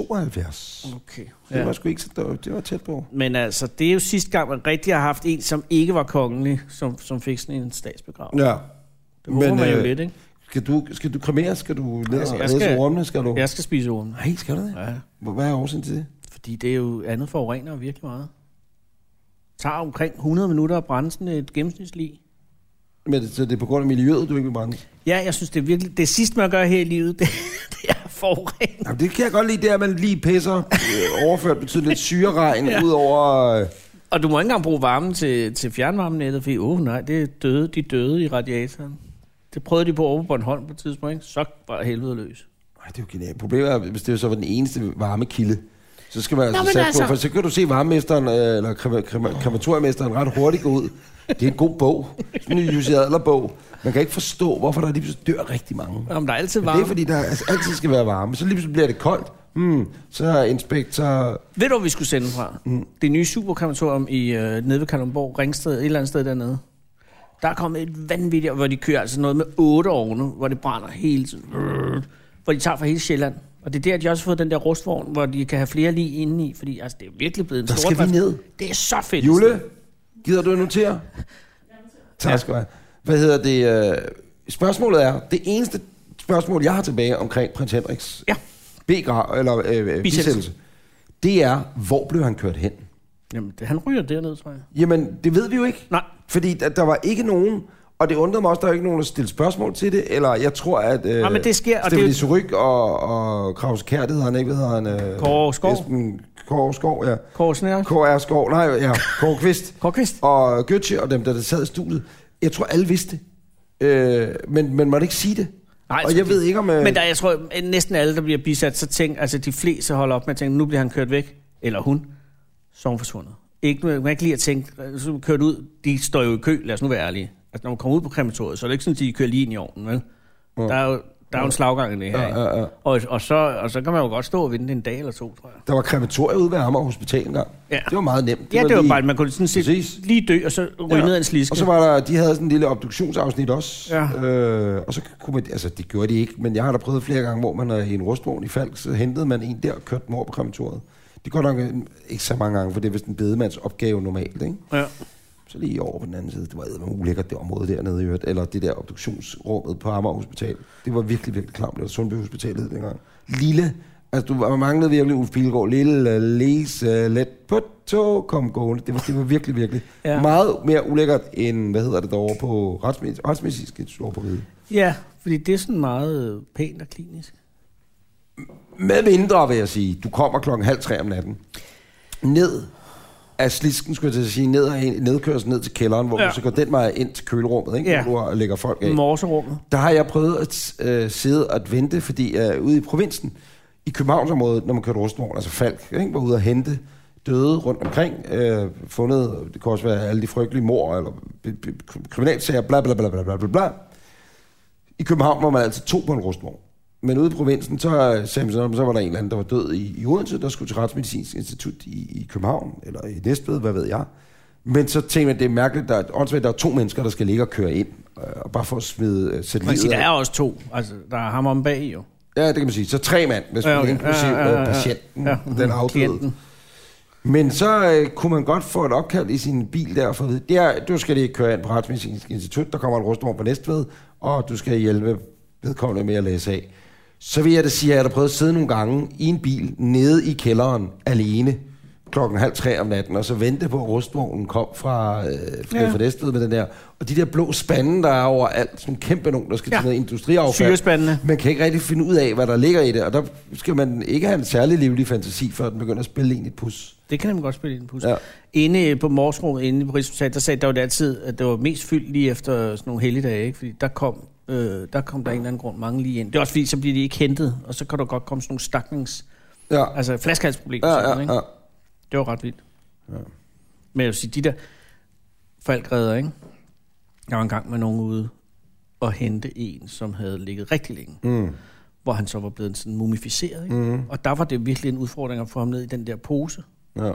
1872. Okay. Det Ja. var sgu ikke så dårligt. Det var tæt på. Men altså, det er jo sidste gang, man rigtig har haft en, som ikke var kongelig, som, som fik sådan en statsbegravelse. Ja. Det håber men, man jo øh, lidt, ikke? Skal du, skal du kremeres? Skal du lede, Jeg skal- jeg lede skal- til ormene? Skal du? Jeg skal spise ormen. Nej, skal du det? Ja, Hvor- Hvad er årsagen til det? fordi det er jo andet forurener virkelig meget. Det tager omkring 100 minutter at brænde sådan et gennemsnitslig. Men det, så det er på grund af miljøet, du ikke vil brænde? Ja, jeg synes, det er virkelig... Det sidste, man gør her i livet, det, det er forurening. Jamen, det kan jeg godt lide, det er, at man lige pisser øh, overført betyder lidt syreregn ja. ud over... Øh, Og du må ikke engang bruge varmen til, til fjernvarmenettet, fordi åh oh, nej, det er døde, de døde i radiatoren. Det prøvede de på over på Bornholm på et tidspunkt, ikke? Så var helvede løs. ej, det er jo genialt. Problemet er, hvis det så var den eneste varmekilde, så skal man altså men sætte altså... altså- på, for så kan du se varmemesteren, øh, eller krema- krema- krematoriemesteren ret hurtigt gå ud. Det er en god bog. Sådan en Jussi Adler-bog. Man kan ikke forstå, hvorfor der lige pludselig dør rigtig mange. Om der er altid Men det varme. er fordi, der altså, altid skal være varme. Så lige pludselig bliver det koldt. Hmm, så er inspektor... Ved du, hvor vi skulle sende fra? Mm. Det nye superkrematorium i øh, nede ved Kalundborg, Ringsted, et eller andet sted dernede. Der er kommet et vanvittigt, hvor de kører altså noget med otte ovne, hvor det brænder hele tiden. Hvor de tager fra hele Sjælland. Og det er der, de også har fået den der rustvogn, hvor de kan have flere lige indeni, fordi altså, det er virkelig blevet en Der stor... skal vi ned. Det er så fedt. et sted. Jule, gider du at notere? Tak skal du have. Hvad hedder det? øh, Spørgsmålet er, det eneste spørgsmål, jeg har tilbage omkring prins Henriks Ja. begra- eller øh, øh, bisættelse, det er, hvor blev han kørt hen? Jamen, det, han ryger dernede, tror jeg. Jamen, det ved vi jo ikke. Nej. Fordi der, der var ikke nogen, og det undrede mig også, der var ikke nogen, der stillede spørgsmål til det, eller jeg tror, at øh, Nej, men det sker, og det er Stefanie jo- Suryk og, og Kraus Kær, det hedder han ikke, hvad hedder han? Øh, Kåre Skov. Esben Kåre Skov, ja. Kåre Snær. Kåre R. Skov, nej, ja, Kåre Kvist. Kårkvist. og Götze og dem, der sad i studiet. Jeg tror, alle vidste det. Øh, men man måtte ikke sige det. Nej, og jeg ved ikke, om... Øh, Men der, jeg tror, at næsten alle, der bliver bisat, så tænker, altså de fleste holder op med at tænke, nu bliver han kørt væk, eller hun, så er hun forsvundet. Ikke, man kan ikke lige at tænke, øh, så er hun kørt ud, de står jo i kø, lad os nu være ærlige. Altså, når man kommer ud på krematoriet, så er det ikke sådan, at de kører lige ind i ovnen, vel? Der er jo, der er jo en slaggang i det her, Mm. Ja, ja, ja. ikke? Og, og, så, og så kan man jo godt stå og vente en dag eller to, tror jeg. der var krematorier ude ved Amager Hospital engang. Ja. Det var meget nemt. Ja, det var lige- bare, at man kunne sådan Præcis. set lige dø, og så ryge ned ad en sliske. Og så var der, de havde sådan en lille obduktionsafsnit også. Ja. Øh, og så kunne man, altså det gjorde de ikke, men jeg har da prøvet flere gange, hvor man er i en rustvogn i Falk, så hentede man en der og kørte den over på krematoriet. Det går nok øh, ikke så mange gange, for det er vist en bedemands opgave normalt, ikke? Ja. Så lige over på den anden side, det var eddermame ulækkert det område dernede i øvrigt, eller det der obduktionsrummet på Amager Hospital. Det var virkelig, virkelig klamt, eller Sundby Hospitalet dengang. Lille Altså, du manglede virkelig Ulf Pilgaard. Lille læse, let på tog, kom gående. Det var, det var virkelig, virkelig ja. Ja. meget mere ulækkert end, hvad hedder det derovre på Retsmedic- Retsmedicinsk Institut på Ride. Ja, fordi det er sådan meget øh, pænt og klinisk. Med mindre, vil jeg sige, du kommer klokken halv tre om natten. Ned af slisken, skulle jeg til at sige, ned af en nedkørsel ned til kælderen, hvor ja. Ja. du så går den vej ind til kølerummet, ikke? Ja. Ja. hvor du lægger folk af. Okay. Morserummet. Der har jeg prøvet at øh, sidde og at vente, fordi øh, ude i provinsen, i Københavnsområdet, når man kørte Rosenborg, altså Falk, ikke, var ude og hente døde rundt omkring, øh, fundet, det kan også være alle de frygtelige mor, eller b- b- kriminalsager, bla bla bla bla bla bla bla. I København var man altså to på en Rosenborg. Men ude i provinsen, så, øh, sagde man sådan, "Nå, men så var der en eller anden, der var død i, i Odense, der skulle til Retsmedicinsk Institut i, i København, eller i Næstved, hvad ved jeg. Men så tænkte man, det er mærkeligt, der er, åndssvagt, der er to mennesker, der skal ligge og køre ind, øh, og bare for at smide, øh, sætte Man kan sige, livet der af. er også to. Altså, der er ham om bag jo. Ja, det kan man sige. Så tre mand, hvis man Ja, ja, okay. okay. inklusive Ja, ja, ja, ja, ja. patienten, ja, Ja, den afdøde. klienten. Men så øh, kunne man godt få et opkald i sin bil der, for at vide, der, du skal lige køre ind på Retsmedicinsk Institut, der kommer en rustvogn på Næstved, og du skal hjælpe vedkommende med at læse af. Så vil jeg da sige, at jeg har da prøvet at sidde nogle gange i en bil nede i kælderen alene klokken halv tre om natten, og så vente på, at rustvognen kom fra, øh, fra, ja. Ja. fra Næstved med den der. Og de der blå spande, der er overalt, sådan en kæmpe nogen, der skal ja. Ja. til noget industriaffald. Syrespandene. Man kan ikke rigtig finde ud af, hvad der ligger i det, og der skal man ikke have en særlig livlig fantasi, før den begynder at spille en i et pus. Det kan nemlig godt spille ind på Ja. ja. Inde øh, på morserummet, inde på Rigshospitalet, der sagde der jo altid, at det var mest fyldt lige efter sådan nogle helligdage, ikke? fordi der kom, øh, der kom der af en eller anden grund mange lige ind. Det er også fordi, så bliver de ikke hentet, og så kan der godt komme sådan nogle staknings... Ja, Altså flaskehalsproblemer. ja, og sådan noget, ja. ikke? ja. Det var ret vildt. Ja. Ja. Men jeg vil sige, de der falkredder, ikke? Jeg var engang med nogen ude og hente en, som havde ligget rigtig længe. Mm. Hvor han så var blevet sådan mumificeret, ikke? Mm. Og der var det virkelig en udfordring at få ham ned i den der pose. ja.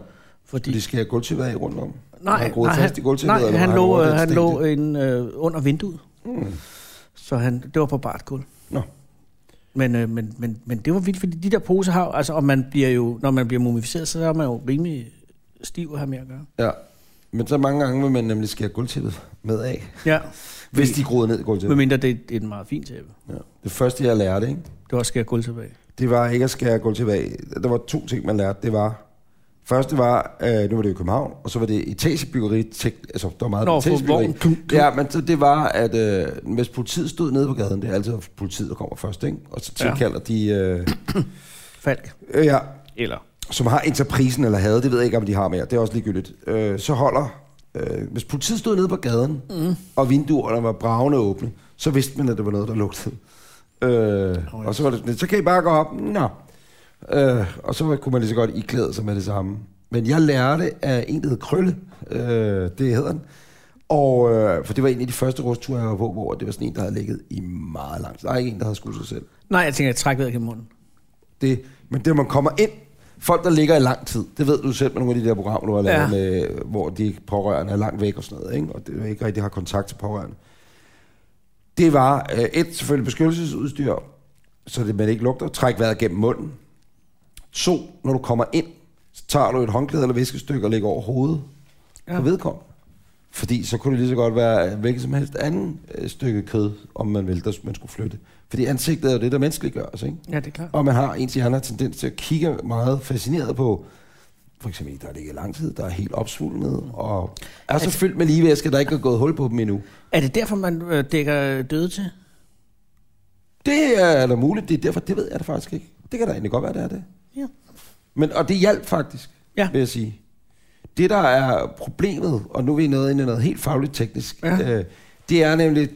Fordi, De skal have gulvtæppet af rundt om. nej, han groede nej, fast i gulvtæppet, nej, eller han, var han, lå, over øh, den han sten? lå en, øh, under vinduet. Mm. Så han, det var på bart gulv. Nå. Men, øh, men, men, men det var vildt, fordi de der poser har, altså, og man bliver jo, når man bliver mumificeret, så er man jo rimelig stiv at have med at gøre. Ja. Men så mange gange vil man nemlig skære gulvtæppet med af, Ja, hvis de groede ned i gulvtæppet. medmindre det, det er en meget fin tæppe. Ja. Det første, jeg lærte, ikke? Det var skære gulv tilbage. det var ikke at skære gulvtæppet af. Der var to ting, man lærte. Det var, første var, øh, nu var det i København, og så var det etagebyggeri. Tek, altså, der var meget Nå, for etagebyggeri. vogn. Klunk, klunk. Ja, men så det var, at øh, hvis politiet stod nede på gaden, det er altid politiet, der kommer først, ikke? Og så Ja. tilkalder de, øh, Falk. øh, ja, Eller? som har interprisen eller havde, det ved jeg ikke, om de har mere, det er også ligegyldigt, øh, så holder, øh, hvis politiet stod nede på gaden, mm. og vinduerne var bravende åbne, så vidste man, at det var noget, der lugtede. Øh, Nå, ja. og så var det sådan, lidt, så kan I bare gå op. Nå. Øh, og så kunne man lige så godt iklæde sig med det samme. Men jeg lærte af en, der hed Krølle, øh, det hedder han, og, øh, for det var en af de første rusture, jeg var på, hvor det var sådan en, der havde ligget i meget lang tid. Der er ikke en, der havde skudt sig selv. Nej, jeg tænker, jeg trækker vejret gennem munden. Det, men det, man kommer ind, folk, der ligger i lang tid, det ved du selv med nogle af de der programmer, du har lavet, ja. Ja. med, hvor de pårørende er langt væk og sådan noget, ikke? og det, ikke rigtig har kontakt til pårørende. Det var øh, et, selvfølgelig beskyttelsesudstyr, så det, man ikke lugter. Træk vejret gennem munden. To, når du kommer ind, så tager du et håndklæde eller viskestykke og lægger over hovedet ja. Ja. på vedkommende. Fordi så kunne det lige så godt være øh, hvilket som helst anden øh, stykke kød, om man ville, der man skulle flytte. Fordi ansigtet er jo det, der menneskeliggøres, ikke? Ja, det er klart. Og man har, ens hjerne har tendens til at kigge meget fascineret på, for eksempel en, der ligger i lang tid, der er helt opsvulmet, og er så Altså- fyldt med ligevæske, der ikke er gået hul på dem endnu. Er det derfor, man øh, dækker døde til? Det er da muligt, det er derfor, det ved jeg da faktisk ikke. Det kan da egentlig godt være, det er det. Ja. Men, og det hjalp faktisk, ja. Ja. vil jeg sige. Det, der er problemet, og nu er vi nået ind i noget helt fagligt teknisk, ja. Ja. øh, det er nemlig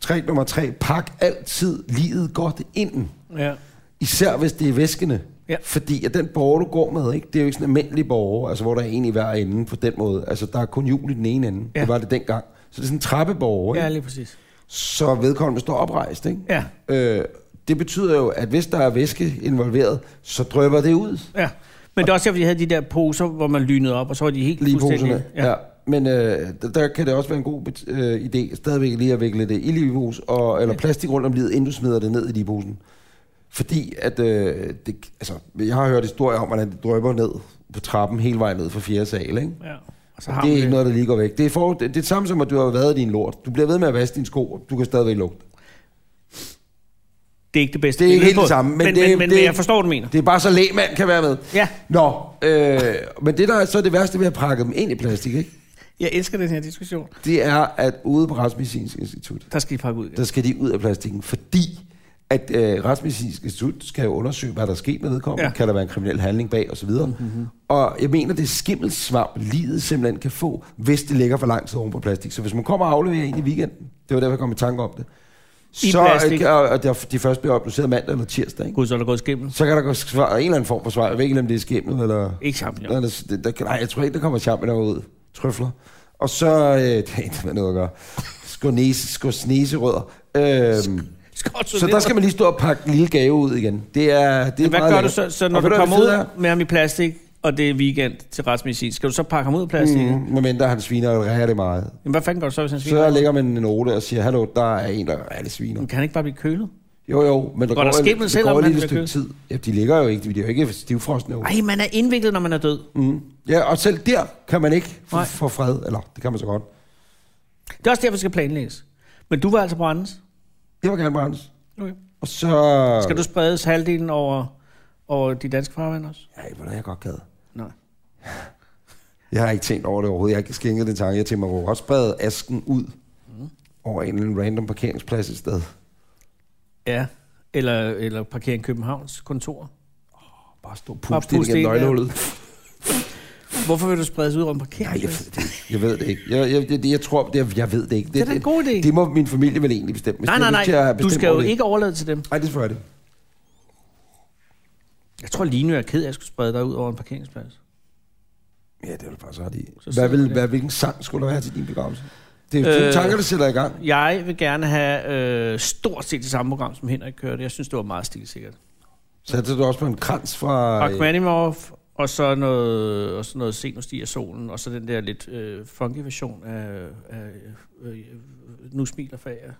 træk nummer tre, pak altid livet godt inden. Ja. Især hvis det er væskende. Ja. Ja. Fordi at den borger, du går med, ikke, det er jo ikke sådan en almindelig borger, altså, hvor der er en i hver ende på den måde. Altså, der er kun hjul i den ene ende. Ja. Ja. Det var det dengang. Så det er sådan en trappeborger, ikke? ja, Ja. lige præcis. Så vedkommende står oprejst, ikke? Ja, Øh, det betyder jo, at hvis der er væske involveret, så drøber det ud. ja. Men det er også derfor, de havde de der poser, hvor man lynede op, og så var de helt Lige fuldstændig- poserne. Ja. Ja. ja. Men øh, der, der kan det også være en god bet- øh, idé stadigvæk lige at vikle det i livpose, og, eller plastik rundt om livet, inden du smider det ned i livposen. Fordi at, øh, det, altså, jeg har hørt historier om, hvordan det drøber ned på trappen hele vejen ned fra fjerde sal, ikke? ja. Og så Så har det er man ikke noget, der lige går væk. Det er, for, det, det er det samme som, at du har været i din lort. Du bliver ved med at vaske dine sko, og du kan stadigvæk lugte. det er ikke det bedste Det er ikke billede helt på det samme, men Men, men, det- men, men, det- jeg forstår, hvad du mener. Det er bare så lægmand kan være med. Ja. Nå, øh, men det der er så det værste ved at pakke dem ind i plastik, ikke? Jeg elsker den her diskussion. det er, at ude på Retsmedicinsk Institut, Der skal I pakke ud. igen. der skal de ud af plastikken, fordi at øh, Retsmedicinsk Institut skal jo undersøge, hvad der er sket med vedkommende. Ja. Ja. Kan der være en kriminel handling bag osv.? Mm-hmm. Og jeg mener, det er skimmelsvamp, livet simpelthen kan få, hvis det ligger for lang tid oven på plastik. Så hvis man kommer og afleverer en i weekenden, det var derfor, jeg kom i tanke om det, I så øh, plastik. og, og der- de først bliver opnoteret mandag eller tirsdag, ikke? Gud, så er der gået skimmel. så kan der gå svar, en eller anden form for svar. Jeg ved ikke, om det er skimmet eller... Ikke champignon. Ja. Der, der, der, nej, jeg tror ikke, der kommer champignoner ud. Trøfler. Og så... Øh, det har ikke med noget at gøre. Skornese, skorsneserødder. Øhm, Skål, så der skal man lige stå og pakke en lille gave ud igen. Det er, det er Hvad meget gør du lækkert. så, så Og når ved du hvad kommer det ud fede er? med ham i plastik, og det er weekend til retsmedicin, skal du så pakke ham ud i plastik? Mm. Mm, medmindre han sviner og ræger det meget. Jamen, hvad fanden gør du så, hvis han sviner? Så lægger man en note og siger, hallo, der er en, der er lidt sviner. Men Kan han ikke bare blive kølet? Jo, jo, men der Går der en- skimmel der selvom går et man lille bliver stykke kød? tid. Ja, de ligger jo ikke, de er jo ikke stivfrosne. jo. Ej, man er indviklet, når man er død. Mm. Ja, og selv der kan man ikke få, Nej. få fred. Eller, det kan man så godt. Det er også derfor, det skal planlægges. Men du vil altså brændes. Det var gerne brændes. Okay. Og så... Skal du spredes halvdelen over, over de danske farvand også? Ej, hvordan jeg godt gad. Nej. Jeg har ikke tænkt over det overhovedet. Jeg har ikke skænket den tanke. Jeg tænker, man kunne godt sprede asken ud Mm. over en eller anden random parkeringsplads et sted. Ja. Eller, eller parkere i Københavns kontor. Bare stå og Bare puste ind puste gennem ind, ja. nøglehullet. Hvorfor vil du spredes ud over en Nej, jeg, parkeringsplads? ved det ikke. jeg ved det ikke. Jeg, jeg, jeg, jeg tror, det er, jeg ved det ikke. Det er da en god idé. Det, det må min familie vel egentlig bestemme. Hvis Nej, de har nej, lyst til at nej. Du bestemme skal jo over det. ikke overlade til dem. Nej, det tror jeg det. Jeg tror lige nu, jeg er ked af, at jeg skulle sprede dig ud over en parkeringsplads. Ja, det er du faktisk ret i. Så Hvad, sidder vi vil, der. hvad, hvilken sang skulle der være til din begravelse? Det er jo Øh. øh... tanker, der sætter i gang. Jeg vil gerne have øh, stort set det samme program, som Henrik kørte. Jeg synes, det var meget stilsikkert. Sætter du også på en krans fra... øh, Rachmaninoff, og så noget, og så noget Sen og stiger solen, og så den der lidt øh, funky version af, af øh, øh, Nu smiler fager.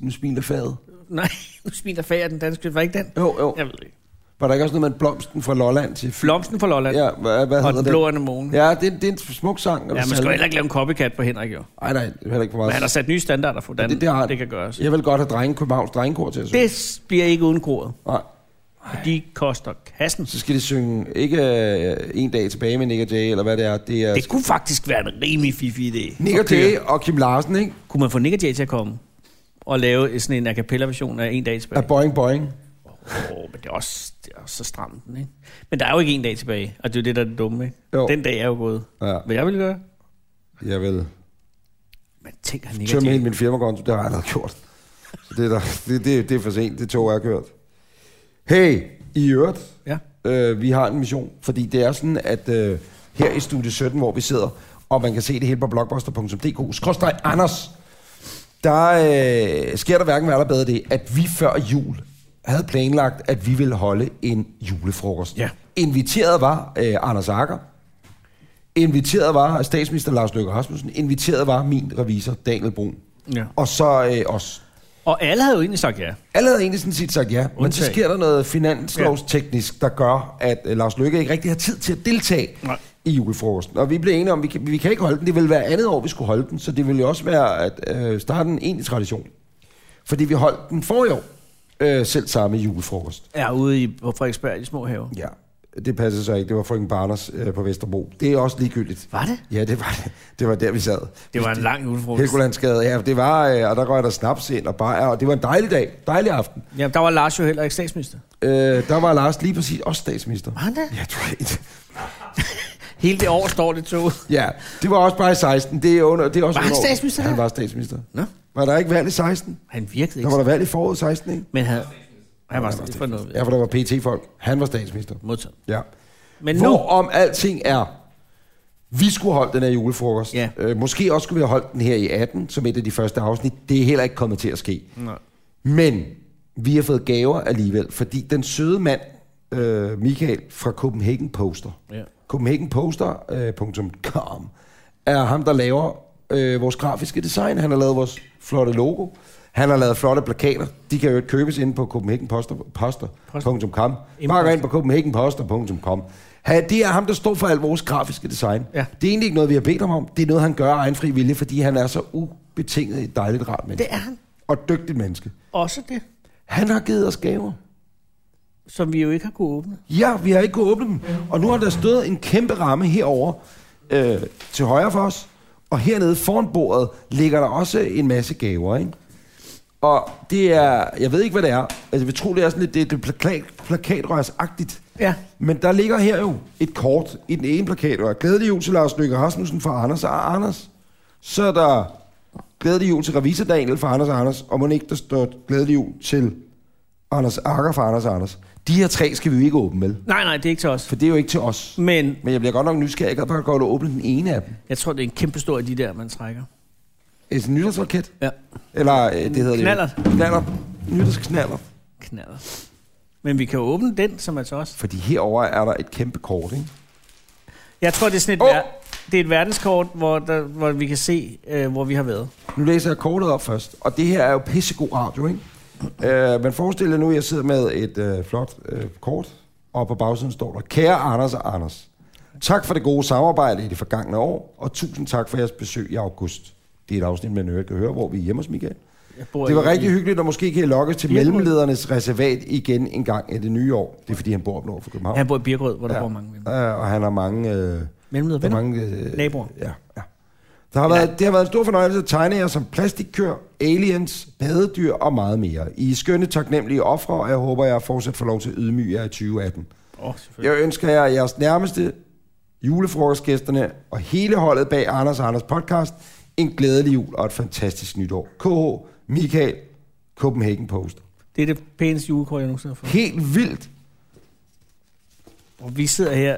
Nu smiler faget. Nej, Nu smiler fager, den danske, var ikke den? Jo, jo. Jeg ved det ikke. Var der ikke også noget med en blomsten fra Lolland til... Blomsten fra Lolland ja, Ja, hvad, hvad og hedder den det? blå anemone. Ja, Ja, det, det er en smuk sang. eller ja, man skal jo salme. heller ikke lave en copycat på Henrik, jo. Nej, nej, det er heller ikke for Men han har meget. sat nye standarder for, hvordan Ja, det- det, det har han. det kan gøres. Jeg vil godt have drenge, Københavns drengekor til at synge. Det s- bliver ikke uden koret. Nej, De koster kassen. så skal de synge ikke øh, en dag tilbage med Nick og Jay, eller hvad det er. Det er Det kunne faktisk være en rimelig fifi idé. Nick og Jay og Kim Larsen, ikke? Kunne man få Nick og Jay til at komme og lave sådan en a cappella version af En dag tilbage? Af Boing Boing. Åh, oh, men det er, også, det er også så stramt, den, ikke? Men der er jo ikke en dag tilbage, og det er jo det, der er det dumme, ikke? Jo. Den dag er jo gået. Ja, Hvad jeg ville gøre? jeg vil Man tænker, han ikke tømme hele er min firmakonto. Det har jeg allerede gjort. Så det er, der, det, det, det er for sent. Det tog jeg kørt. Hey, i øvrigt. Ja. Øh, vi har en mission, fordi det er sådan, at øh, her i Studie 17, hvor vi sidder, og man kan se det hele på blogbuster.dk, skrådstræk Anders, der øh, sker der hverken hvad eller bedre det, at vi før jul havde planlagt, at vi ville holde en julefrokost. Ja. Inviteret var øh, Anders Akker, inviteret var statsminister Lars Løkke Rasmussen, inviteret var min revisor Daniel Brun, Ja. og så øh, os. Og alle havde jo egentlig sagt ja. Alle havde egentlig sådan set sagt ja, men så Undtagen. sker der noget finanslovsteknisk, der gør, at øh, Lars Løkke ikke rigtig har tid til at deltage Nej. Nej. i julefrokosten. Og vi blev enige om, at vi kan, vi kan ikke holde den. Det ville være andet år, vi skulle holde den, så det ville jo også være at øh, starte en egentlig tradition. Fordi vi holdt den forrige år, øh, selv samme julefrokost. Er ude i, på Frederiksberg i de små haver. Ja, det passer så ikke. Det var frøken Barners øh, på Vesterbro. Det er også ligegyldigt. Var det? Ja, det var det. Det var der, vi sad. Det var en lang julefrokost. Helgolandsgade, ja, det var, øh, og der røg der snaps ind, og, bare, og det var en dejlig dag, dejlig aften. Ja, der var Lars jo heller ikke statsminister. Øh, der var Lars lige præcis også statsminister. Var han det? Ja, du er helt- Hele det år står det tog. ja, det var også bare i 16. Det er under, det er også Var han under- statsminister Han der? var statsminister. Nå, Var der ikke valg i 16? han virkede Der ikke. var der valg i foråret 16, ikke? Men havde, han var stadig for noget. Ja, for der var PT-folk. Han var statsminister. Modtaget. Ja. Men nu, Hvor om alting er, vi skulle holde den her julefrokost. Ja. Øh, måske også skulle vi have holdt den her i 18, som et af de første afsnit. Det er heller ikke kommet til at ske. Nej. Men vi har fået gaver alligevel, fordi den søde mand, øh, Michael fra Copenhagen Poster, Ja. CopenhagenPoster.com er ham, der laver øh, vores grafiske design. Han har lavet vores flotte logo. Han har lavet flotte plakater. De kan jo ikke købes inde på CopenhagenPoster.com. Bare gå ind på CopenhagenPoster.com. Ha, det er ham, der står for alt vores grafiske design. Ja. Det er egentlig ikke noget, vi har bedt ham om. Det er noget, han gør af egen fri vilje, fordi han er så ubetinget et dejligt rart menneske. det er han Og et dygtigt menneske. også det. Han har givet os gaver. Som vi jo ikke har kunnet åbne. Ja, vi har ikke kunnet åbne dem. Og nu har der stået en kæmpe ramme herover øh, til højre for os. Og hernede foran bordet ligger der også en masse gaver, ikke? Og det er, jeg ved ikke, hvad det er. Altså, vi tror, det er sådan lidt, det, det er plakat, plakatrørsagtigt. Ja. Men der ligger her jo et kort i den ene plakat, og glædelig jul til Lars Løkke Rasmussen fra Anders og Anders. Så er der glædelig jul til Revisor Daniel fra Anders og Anders, og må ikke, der står glædelig jul til Anders Akker fra Anders og Anders. De her tre skal vi jo ikke åbne, vel? Nej, nej, det er ikke til os. For det er jo ikke til os. Men Men jeg bliver godt nok nysgerrig. Jeg kan bare godt åbne den ene af dem. jeg tror, det er en kæmpe stor af de der, man trækker. Et nytårsraket. Ja. Eller øh, det hedder Knallert. det. Knaller. Nytårsknaller. Knaller. Men vi kan jo åbne den, som er til os. Fordi herover er der et kæmpe kort, ikke? Jeg tror, det er sådan et, Åh! oh. ver- det er et verdenskort, hvor, der, hvor vi kan se, øh, hvor vi har været. Nu læser jeg kortet op først, og det her er jo pissegod radio, ikke? Øh, men forestil jer nu, at jeg sidder med et øh, flot øh, kort, og på bagsiden står der, kære Anders og Anders, tak for det gode samarbejde i det forgangne år, og tusind tak for jeres besøg i august. Det er et afsnit, man ikke kan høre, hvor vi er hjemme hos Michael. Jeg bor Det var i- rigtig hyggeligt, og måske kan jeg lokkes til Birkerød. mellemledernes reservat igen en gang i det nye år. Det er, fordi han bor op nord for København. Han bor i Birkerød, hvor der Ja. ja. bor mange venner. Øh, og han har mange... Øh, Mellemleder der er venner. mange øh, Naboer. Ja, ja. Der har været, det har været en stor fornøjelse at tegne jer som plastikkør, aliens, badedyr og meget mere. I er skønne, taknemmelige ofre, og jeg håber, jeg fortsat får lov til at ydmyge jer i 2018. Åh, oh, selvfølgelig. Jeg ønsker jer jeres nærmeste, julefrokostgæsterne og hele holdet bag Anders og Anders podcast en glædelig jul og et fantastisk nytår. KH, Michael, Copenhagen Post. Det er det pæneste julekort, jeg nogensinde har fået. Helt vildt. Og vi sidder her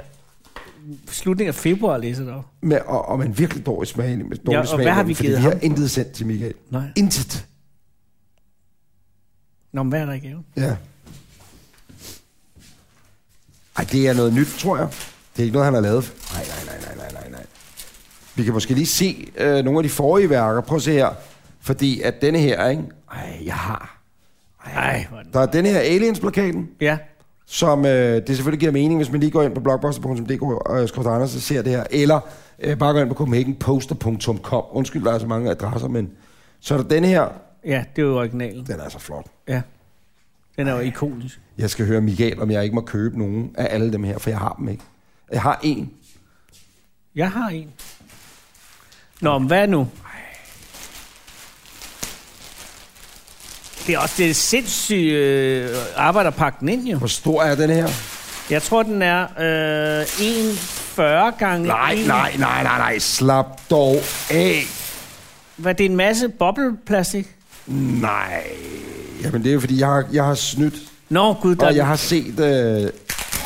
slutningen af februar og læser det op. Med, og, og man virkelig dårlig smag, med dårlig Ja, og smag hvad har i munden, vi fordi givet vi har ham? intet sendt til Michael. Nej. Intet. Nå, men hvad er der i gaven? Ja. Ej, det er noget nyt, tror jeg. Det er ikke noget, han har lavet. Nej, nej, nej, nej, nej, nej, nej. Vi kan måske lige se øh, nogle af de forrige værker. Prøv at se her. Fordi at denne her, ikke? Ej, jeg har. Ej, hvor er den. Der er denne her Aliens-plakaten, Ja, som øh, det selvfølgelig giver mening, hvis man lige går ind på blogposter.dk og øh, Anders og ser det her. Eller øh, bare gå ind på copenhagenposter.com. Undskyld, der er så mange adresser, men... Så er der denne her. ja, det er jo originalen. Den er så flot. Ja. Den er jo ikonisk. Jeg skal høre Michael, om jeg ikke må købe nogen af alle dem her, for jeg har dem ikke. Jeg har en. Jeg har en. Nå, men hvad nu? Det er også det sindssyge øh, arbejderpakken ind, jo. Hvor stor er den her? Jeg tror, den er øh, 1,40 gange... Nej, en- nej, nej, nej, nej. Slap dog af. Hvad, det er en masse bobleplastik? Nej. Jamen, det er jo, fordi, jeg har, jeg har snydt, Nå, gud, der og jeg har set... Øh,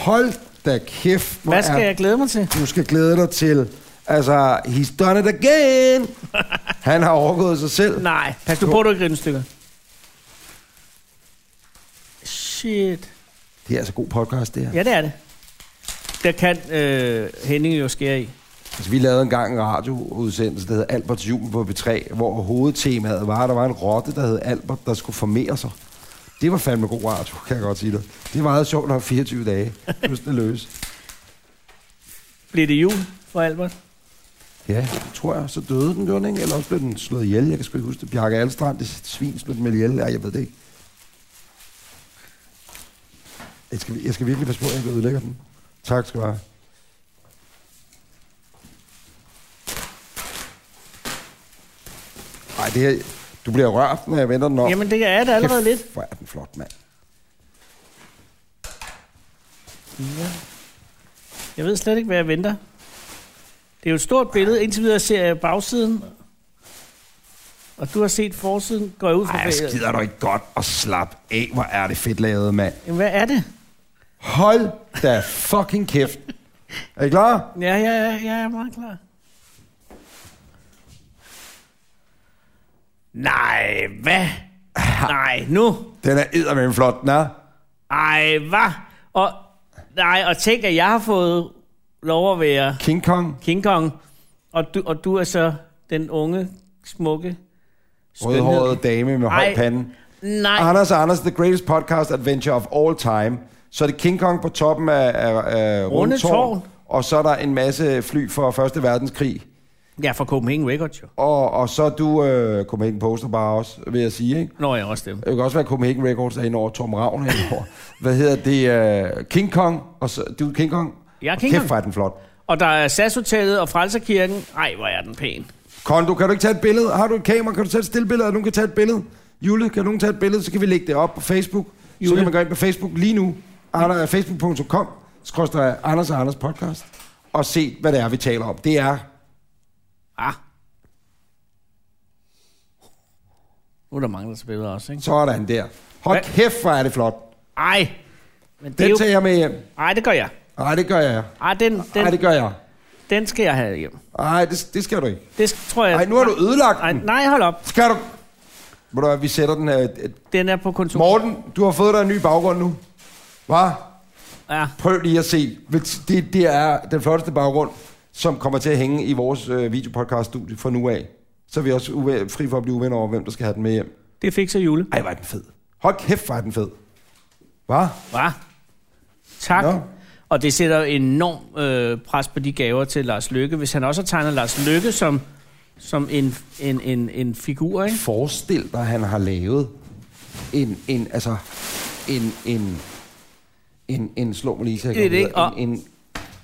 hold da kæft. hvor Hvad skal er- jeg glæde mig til? Du skal glæde dig til... Altså, he's done it again. Han har overgået sig selv. Nej, pas du på, du ikke griner stykker. Shit. Det er altså god podcast, det her. Ja, det er det. Der kan øh, Henning jo skære i. Altså, vi lavede engang en radioudsendelse, der hed Alberts jul på B3, hvor hovedtemaet var, at der var en rotte, der hed Albert, der skulle formere sig. Det var fandme god radio, kan jeg godt sige dig. Det var meget sjovt, når 24 dage. Pludselig løs. Bliver det jul for Albert? Ja, tror jeg. Så døde den, gjorde den ikke? Eller også blev den slået ihjel. Jeg kan sgu ikke huske det. Bjarke Alstrand, det svin, slog den med ihjel. Ja, jeg ved det ikke. Jeg skal, jeg skal virkelig passe på, at jeg ikke ødelægger den. Tak skal du have. Ej, det her, du bliver rørt, når jeg vender den om. Jamen, det er det allerede lidt. Hvor er den flot, mand. Jeg ved slet ikke, hvad jeg venter. Det er jo et stort billede. Indtil videre ser jeg bagsiden. Og du har set forsiden. Går jeg ud fra Ej, skider du ikke godt og slap af. Hvor er det fedt lavet, mand. Jamen, hvad er det? Hold da fucking kæft. Er I klar? Ja, ja, ja, ja, jeg er meget klar. Nej, hvad? Nej, nu. Den er eddermame flot, den er. Ej, hvad? Og, nej, og tænk, at jeg har fået lov at være King Kong, King Kong, og du, og du er så den unge, smukke skønhed. rødhåret dame med høj Ej. pande. Nej, Anders og Anders, the greatest podcast adventure of all time. Så er det King Kong på toppen af, af, af Runde Runde Tårn, Tårn. og så er der en masse fly fra Første Verdenskrig. Ja, for Copenhagen Records jo. Og, og så er du øh, Copenhagen Poster bare også, vil jeg sige, ikke? Nå, jeg er også dem. Det kan også være Copenhagen Records er inde over Tom Ravn er inde over. Hvad hedder det? Uh, King Kong. Og så, du er King Kong? Jeg er Og King kæft, Kong. hvor er den flot. Og der er SAS-hotellet og Frelserkirken. Ej, hvor er den pæn. Kondo, kan du ikke tage et billede? Har du et kamera? Kan du tage et stillbillede, og nogen kan tage et billede? Jule, kan nogen tage et billede? Så kan vi lægge det op på Facebook. Jule. Så Jule. kan man gå ind på Facebook lige nu. Anders- Facebook.com. Skråstrej Anders og Anders podcast. Og se, hvad det er, vi taler om. Det er... Ah. Nu er der mange, der spiller også, ikke? Sådan der. Hold Hvad? kæft, hvor er det flot. Ej. Men det er Den jo... tager jeg med hjem. Ej, det gør jeg. Nej, det gør jeg. Ej, den, den, Nej, det gør jeg. den skal jeg have hjem. Nej, det, det skal du ikke. Det sk- tror jeg... Nej, nu har du ødelagt Ej, den. nej, hold op. Skal du... Ved du hvad, vi sætter den her... Den er på kontor. Morten, du har fået dig en ny baggrund nu. Hva? Ja. Prøv lige at se. Det, det er den flotteste baggrund, som kommer til at hænge i vores øh, videopodcast-studie fra nu af. Så er vi også uve- fri for at blive uvenner over, hvem der skal have den med hjem. Det fik så jule. Ej, hvor er den fed. Hold kæft, hvor er den fed. Hva? Hva? Tak. Nå. No. Og det sætter jo enorm øh, pres på de gaver til Lars Lykke, hvis han også har tegnet Lars Lykke som, som en, en, en, en figur, ikke? Forestil dig, han har lavet en, en altså, en, en, en, en slå mig lige, så jeg Det er det kan- ikke, og- en,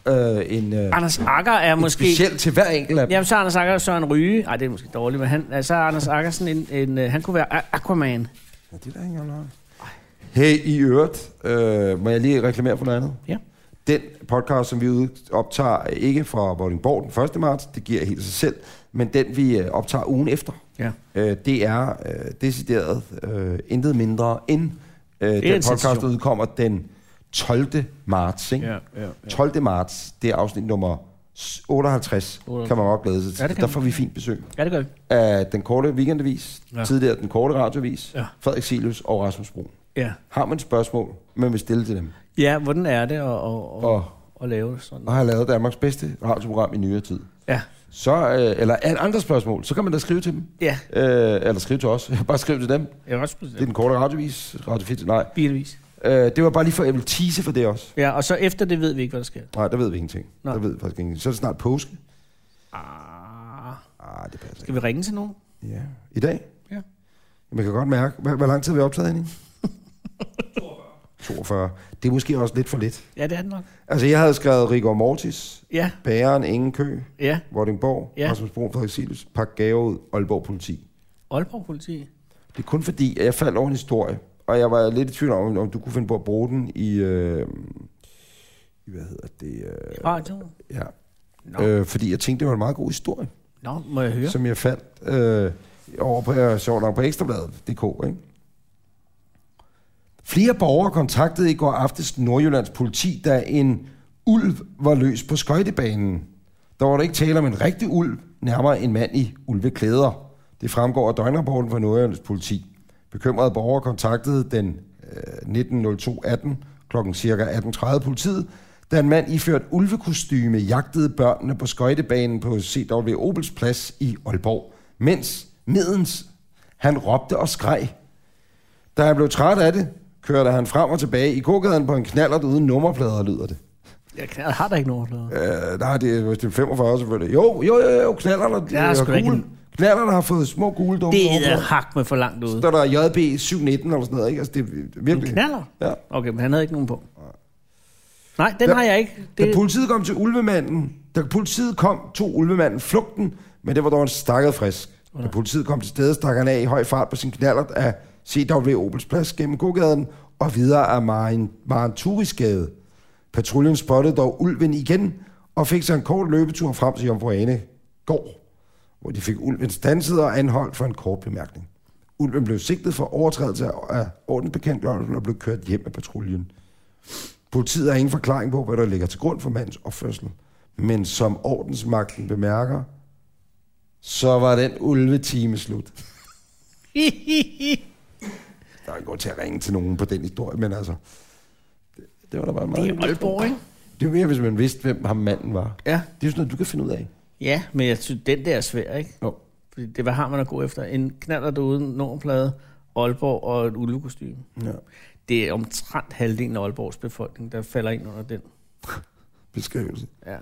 en, øh, en, øh, Anders Akker er måske... speciel til hver enkelt af dem. Jamen, så er Anders Akker Søren Ryge. Ej, det er måske dårligt, men han, altså, så er Anders Akker sådan en, en, øh, Han kunne være A- Aquaman. Ja, det er der ikke engang Hey, i øvrigt, øh, må jeg lige reklamere for noget andet? Ja. Den podcast, som vi ud- optager, er ikke fra Vordingborg den 1. marts, det giver helt sig selv, men den, vi øh, optager ugen efter, Ja. øh, det er øh, decideret øh, intet mindre end øh, den en podcast, der sensation. udkommer den 12. marts. Ikke? Ja, ja, ja. 12. marts, det er afsnit nummer 58, kan man godt glæde sig til. Ja, det Ja, kan der man. får vi fint besøg Ja, det gør vi. af den korte weekendavis, ja. Ja. tidligere den korte radiovis, ja. Ja. Frederik Silius og Rasmus Brun. Ja. Har man et spørgsmål, man vil stille til dem, Ja, hvordan er det at, at, at, og, at lave sådan? og har lavet Danmarks bedste radioprogram i nyere tid, Ja. så, øh, eller er andre spørgsmål, så kan man da skrive til dem. Ja. Øh, eller skrive til os. Bare skriv til dem. Det Jeg er også er den korte radiovis. Radio 4, nej. bilvis. Øh, det var bare lige for, at jeg ville tease for det også. Ja, og så efter det ved vi ikke, hvad der sker. Nej, der ved vi ingenting. Nå. Der ved vi faktisk ingenting. Så er det snart påske. Ah. Ah, det passer Skal vi ringe til nogen? ikke. Ja. I dag? Ja. Man kan godt mærke, hvor, hvor lang tid er vi optaget ind i? 42. Det er måske også lidt for lidt. Ja, det er det nok. Altså, jeg havde skrevet Rigor Mortis, Ja, Bæren, Ingen Kø, ja. Vordingborg, ja. Ja. Rasmus Brun, Frederik Silus, Pak Gave ud, Aalborg Politi. Aalborg politi. Det er kun fordi, at jeg faldt over en historie, og jeg var lidt i tvivl om, om du kunne finde på at bruge den i... Øh, i hvad hedder det? Øh, Radio. ja. Nå. Øh, fordi jeg tænkte, det var en meget god historie, Nå, må jeg ja. høre? som jeg fandt øh, over på, øh, sjovt nok på ekstrabladet.dk, ikke? Flere borgere kontaktede i går aftes Nordjyllands politi, da en ulv var løs på skøjtebanen. Der var der ikke tale om en rigtig ulv, nærmere en mand i ulveklæder. Det fremgår af døgnrapporten fra Nordjyllands politi. Bekymrede borgere kontaktede den øh, 19.02.18 kl. ca. 18.30 politiet, da en mand iført ulvekostyme jagtede børnene på skøjtebanen på CW Opels plads i Aalborg, mens medens han råbte og skreg da han blev træt af det, kørte han frem og tilbage i gågaden på en knallert uden nummerplader, lyder det. Jeg knalder, har der ikke nogen overflader. Øh, nej, det er, det er 45 selvfølgelig. Jo, jo, jo, jo knallerter. Der er øh, sgu da ikke gule. en- Knallerne har fået små gule dumme. Det er hak med for langt ude. Der er der JB 719 eller sådan noget, ikke? Altså, det er En virkelig... knaller? Ja. Okay, men han havde ikke nogen på. Nej, den Der- har jeg ikke. Da Det, politiet kom til ulvemanden, da politiet kom, tog ulvemanden flugten, men det var dog en stakket frisk. Da politiet kom til stedet, stak han af i høj fart på sin knallert af CW Opels plads gennem gågaden og videre af Maren, Maren Turisgade. Patruljen spottede dog ulven igen og fik sig en kort løbetur frem til Jomfru Ane gård, hvor de fik ulven stanset og anholdt for en kort bemærkning. Ulven blev sigtet for overtrædelse af ordensbekendtgørelsen og blev kørt hjem af patruljen. Politiet har ingen forklaring på, hvad der ligger til grund for mandens opførsel. Men som ordensmagten bemærker, så var den ulvetime slut. Der er ikke grund til at ringe til nogen på den historie, men altså... Det, det var da bare meget... det er Aalborg, ikke? Det er mere, hvis man vidste, hvem ham manden var. Det Ja. er jo sådan noget, du kan finde ud af. Ja, men jeg synes, den der er svær, ikke? Jo. Fordi det, hvad har man at gå efter? En knaller uden normplade, Aalborg og et ulvekostyme. Ja. Det er omtrent halvdelen af Aalborgs befolkning, der falder ind under den. Beskrivelse. Ja.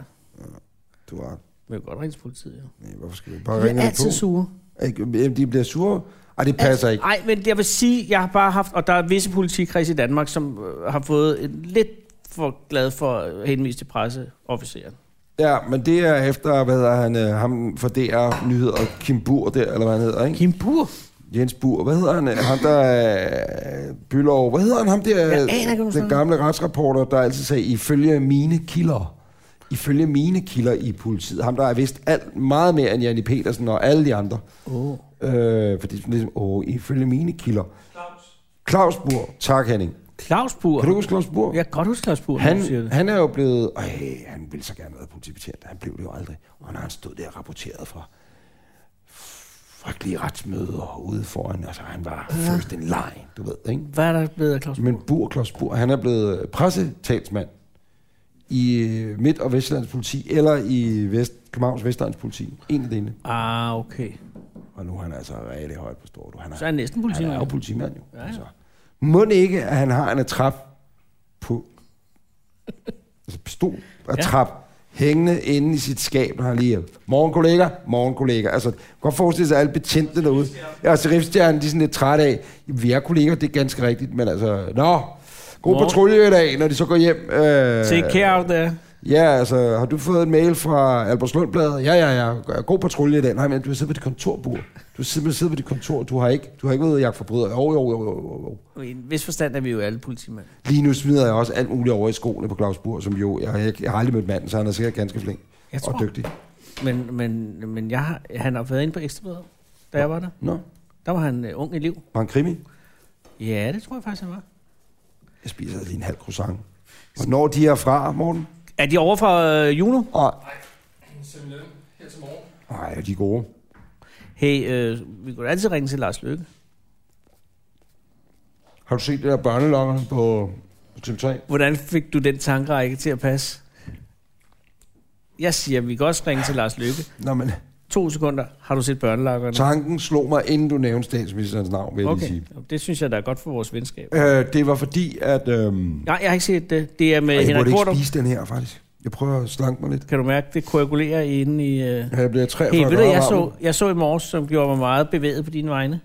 Du har... Men jeg kan godt ringe til politiet, jo. Nej, hvorfor skal vi bare De ringe er dem på? altid sure. Ikke, jamen, De bliver sure. Ej, det passer ikke. Nej, men jeg vil sige, jeg har bare haft, og der er visse politikreds i Danmark, som øh, har fået en lidt for glad for at henvise til presseofficeren. Ja, men det er efter, hvad hedder han, øh, ham for DR Nyheder, Kim Bur der, eller hvad han hedder, ikke? Kim Bur? Jens Bur, hvad hedder han? øh, Ham der øh, Bylov, hvad hedder han? Ham der, Jeg aner ikke, hvem sådan den gamle retsreporter, der altid sagde, ifølge mine kilder. Ifølge mine kilder i politiet. Ham der har vidst alt meget mere end Janne Petersen og alle de andre. Åh. Oh. Øh, fordi sådan ligesom, åh, ifølge mine kilder. Claus. Claus Bur, tak Henning. Claus Bur? Kan du huske Claus Bur? Jeg kan godt huske Claus Bur, han... du siger Han, det. han er jo blevet... Øj, han ville så gerne være politibetjent. Han blev det jo aldrig. Og når han stod der og rapporterede fra frygtelige retsmøder ude foran, altså han var ja. first in line, du ved, ikke? Hvad er der blevet af Claus Bur? Men Bur, Claus Bur, han er blevet øh, pressetalsmand i øh, Midt- og Vestlands politi, eller i Vest, Københavns Vestlands politi. En af delene. Ah, okay. Og nu er han altså rigtig højt på stort. Han er, Så er han næsten politimand. Han er jo politimand, jo. Ja, ja. Altså. Må det ikke, at han har en trap på... altså pistol og Ja. trap hængende inde i sit skab, når han lige er. Morgen kollega, morgen kollega. Altså, man kan godt forestille sig at alle betjente derude. Ja, altså Riftstjernen, de er sådan lidt trætte af. Vi er kolleger, det er ganske rigtigt, men altså, nå, god Morgen. patrulje i dag, når de så går hjem. Øh, Take care out there. Ja, altså, har du fået en mail fra Albertslundbladet? Ja, ja, ja. God patrulje i dag. Nej, men du har siddet på dit kontorbur. Du har simpelthen siddet på dit kontor. Du har ikke, du har ikke været ude og jagte forbrydere. Jo, jo, jo, jo, jo, jo. I en vis forstand er vi jo alle politimænd. Lige nu smider jeg også alt muligt over i skoene på Claus Bur, som jo, jeg, har ikke, jeg har aldrig mødt manden, så han er sikkert ganske flink Jeg tror- og dygtig. Men, men, men jeg, har- han har været inde på Ekstrabladet, da jeg var der. Nå, Der var han uh, ung elev. var han krimi? Ja, det tror jeg faktisk, han var. Jeg spiser lige en halv croissant. Hvornår de er fra, Morten? Er de over fra uh, Juno? Og, Simpelthen. Her til morgen. nej, de er gode. Hey, uh, vi kunne altid ringe til Lars Løkke. Har du set det der børnelokker på, på TV3? Hvordan fik du den tankerække til at passe? Jeg siger, vi kan også ringe til Lars Løkke. Nå, men To sekunder. Har du set børnelakkerne? tanken slog mig, inden du nævnte statsministerens navn, vil jeg okay. lige sige. Okay, det synes jeg, der er godt for vores venskab. Øh, det var fordi, at... Øhm, Nej, jeg har ikke set det. Det er med Ej, jeg Henrik burde Kortum. ikke spise den her, faktisk. Jeg prøver at slanke mig lidt. Kan du mærke, det koagulerer inde i... Uh... Ja, Jeg bliver 43 Hey, ved du, grader jeg varm. så, jeg så i morges, som gjorde mig meget bevæget på dine vegne.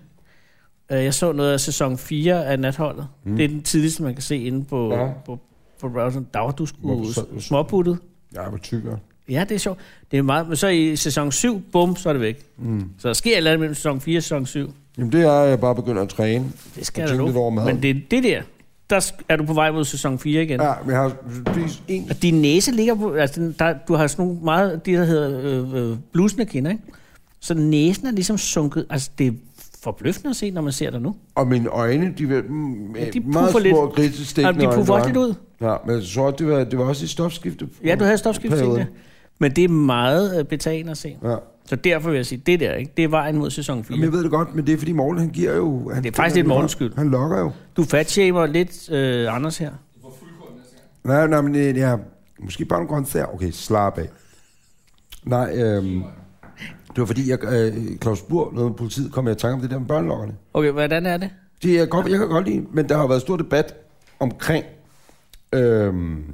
Øh, Jeg så noget af sæson 4 af Natholdet. Mm. Det er den tidligste, man kan se inde på, Ja. ja. på, på browseren. Der var du Hvorfor sgu så- småputtet. Jeg var tykkere. Ja, det er sjovt. Det er meget, men så i sæson 7, bum, så er det væk. Mm. Så der sker et eller andet mellem sæson 4 og sæson 7. Jamen, det er, at jeg bare begynder at træne. Det skal Og jeg da tænke lidt over love. maden. Men det, det der, der sk- er du på vej mod sæson 4 igen. Ja, men jeg har spist en... Og din næse ligger på... Altså, den- der, du har sådan nogle meget... De, der hedder øh, øh, blusende kinder, ikke? Så næsen er ligesom sunket... Altså, det er forbløffende at se, når man ser dig nu. Og mine øjne, de var mm, Ja, de meget puffer lidt. små grisestikkende Jamen, de puffer også lidt ud. Ja, men jeg så, også, det var, det var også i stofskifte. Ja, du havde stofskiftet periode. ja. Men det er meget øh, betagende at se. Ja. Så derfor vil jeg sige, det der, ikke? det er vejen mod sæson 4. Jamen, jeg ved det godt, men det er fordi Morten, han giver jo... Han, Det er faktisk lidt Mortens skyld. Han lokker jo. Du fatshamer lidt øh, Anders her. Nej, nej, men det er... Måske bare nogle grøntsager. Okay, slap af. Nej, øhm, det var fordi, jeg, øh, Claus Burg, noget med politiet, kom jeg i tanke om det der med børnelokkerne. Okay, hvordan er det? Det er godt, jeg kan godt lide, men der har været stor debat omkring øhm,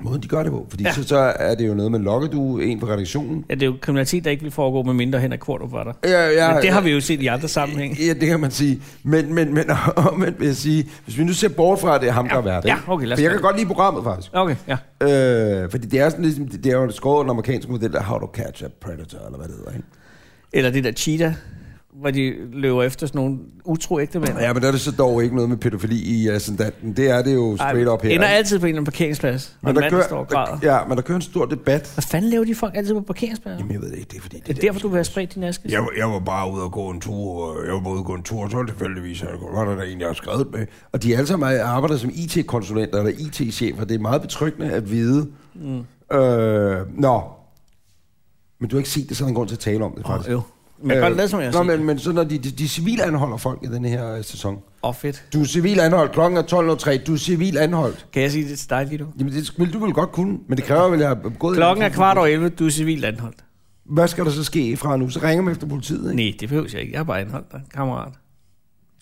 måden, de gør det på. Fordi ja. Ja. så, så er det jo noget med lokkedue, en på redaktionen. Ja, det er jo kriminalitet, der ikke vil foregå, med mindre Henrik Kvartrup var der. Ja, ja, Men det har vi jo set i andre sammenhænge. Ja, det kan man sige. Men, men, men omvendt vil jeg sige, hvis vi nu ser bort fra, at det er ham, der Ja. er vært. Ja, ikke? okay, lad os For jeg gøre kan godt lide programmet, faktisk. Okay, ja. Øh, fordi det er sådan ligesom, det det er jo skåret den amerikanske model, der how to catch a predator, eller hvad det hedder, ikke? Eller det der cheetah, hvor de løber efter sådan nogle utro ægte mænd. Ja, men der er det så dog ikke noget med pædofili i ascendanten. Det er det jo straight up her. ender ikke? altid på en eller anden parkeringsplads, og en mand, der står og græder. der, ja, men der kører en stor debat. Hvad fanden laver de folk altid på parkeringspladser? Jamen, jeg ved det ikke, det er fordi... Det er derfor, du vil have spredt din aske. Jeg, var- jeg var bare ude og gå en tur, og jeg var bare ude og gå en tur, og så var det tilfældigvis, at der var der en, jeg har skrevet med. Og de er alle sammen arbejder som IT-konsulenter eller IT-chefer. Det er meget betryggende at vide. Mm. Øh, nå. Men du har ikke set det, så er der en grund til at tale om det, faktisk. Åh, øv. Men jeg kan godt lade, som jeg Øh, nå, har set. men, men så når de, de, de civile anholder folk i den her øh, sæson. Åh, oh, fedt. Du er civil anholdt, klokken er 12.03, du er civil anholdt. Kan jeg sige det til dig lige nu? Jamen, det vil du vel godt kunne, men det kræver vel, at jeg har gået... Klokken er kvart øh. over 11, du er civilt anholdt. Hvad skal der så ske fra nu? Så ringer man efter politiet, ikke? Nej, det behøver jeg ikke. Jeg er bare anholdt dig, kammerat.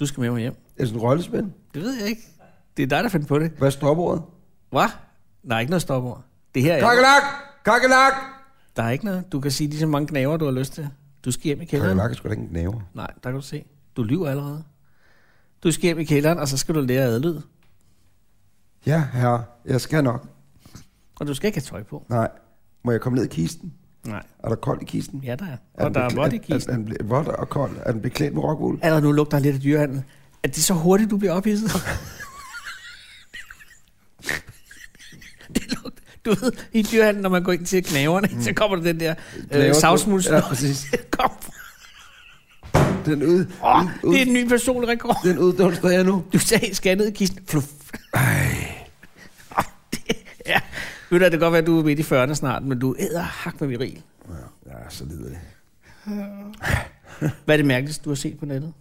Du skal med mig hjem. Det er sådan en rollespil. Det ved jeg ikke. Det er dig, der fandt på det. Hvad er stopordet? Hvad? Der er ikke noget stopord. Det her er... Kakkelak! Kakkelak! Der er ikke noget. Du kan sige lige så mange knaver, du har lyst til. Du skal hjem i kælderen. Kakerlakker skulle da ikke knæver. Nej, der kan du se. Du lyver allerede. Du skal hjem i kælderen, og så skal du lære adlyd. Ja, herre, jeg skal nok. Og du skal ikke have tøj på. Nej. Må jeg komme ned i kisten? Nej. Er der koldt i kisten? Ja, der er. Er Og den der er beklæ- vådt i er- kisten. Er, er, den ble- vådt og kold? Er den beklædt med rockwool? Eller nu lugter lidt af dyrehandel. Er det så hurtigt, du bliver ophidset? det lugter. Du ved, i dyrehandel, når man går ind til knaverne, mm. så kommer der den der øh, Laver- savsmuls. Ja, præcis. Kom. Den ud, Oh, ud, ud, det er en ny personlig rekord. den uddunster jeg nu. Du sagde, skal jeg ned i kisten? Fluff. Ej. det, ja. Ved du, det kan godt være, at du er midt i 40'erne snart, men du æder hak med viril. Ja, ja så lider det. Hvad er det mærkeligste, du har set på nettet?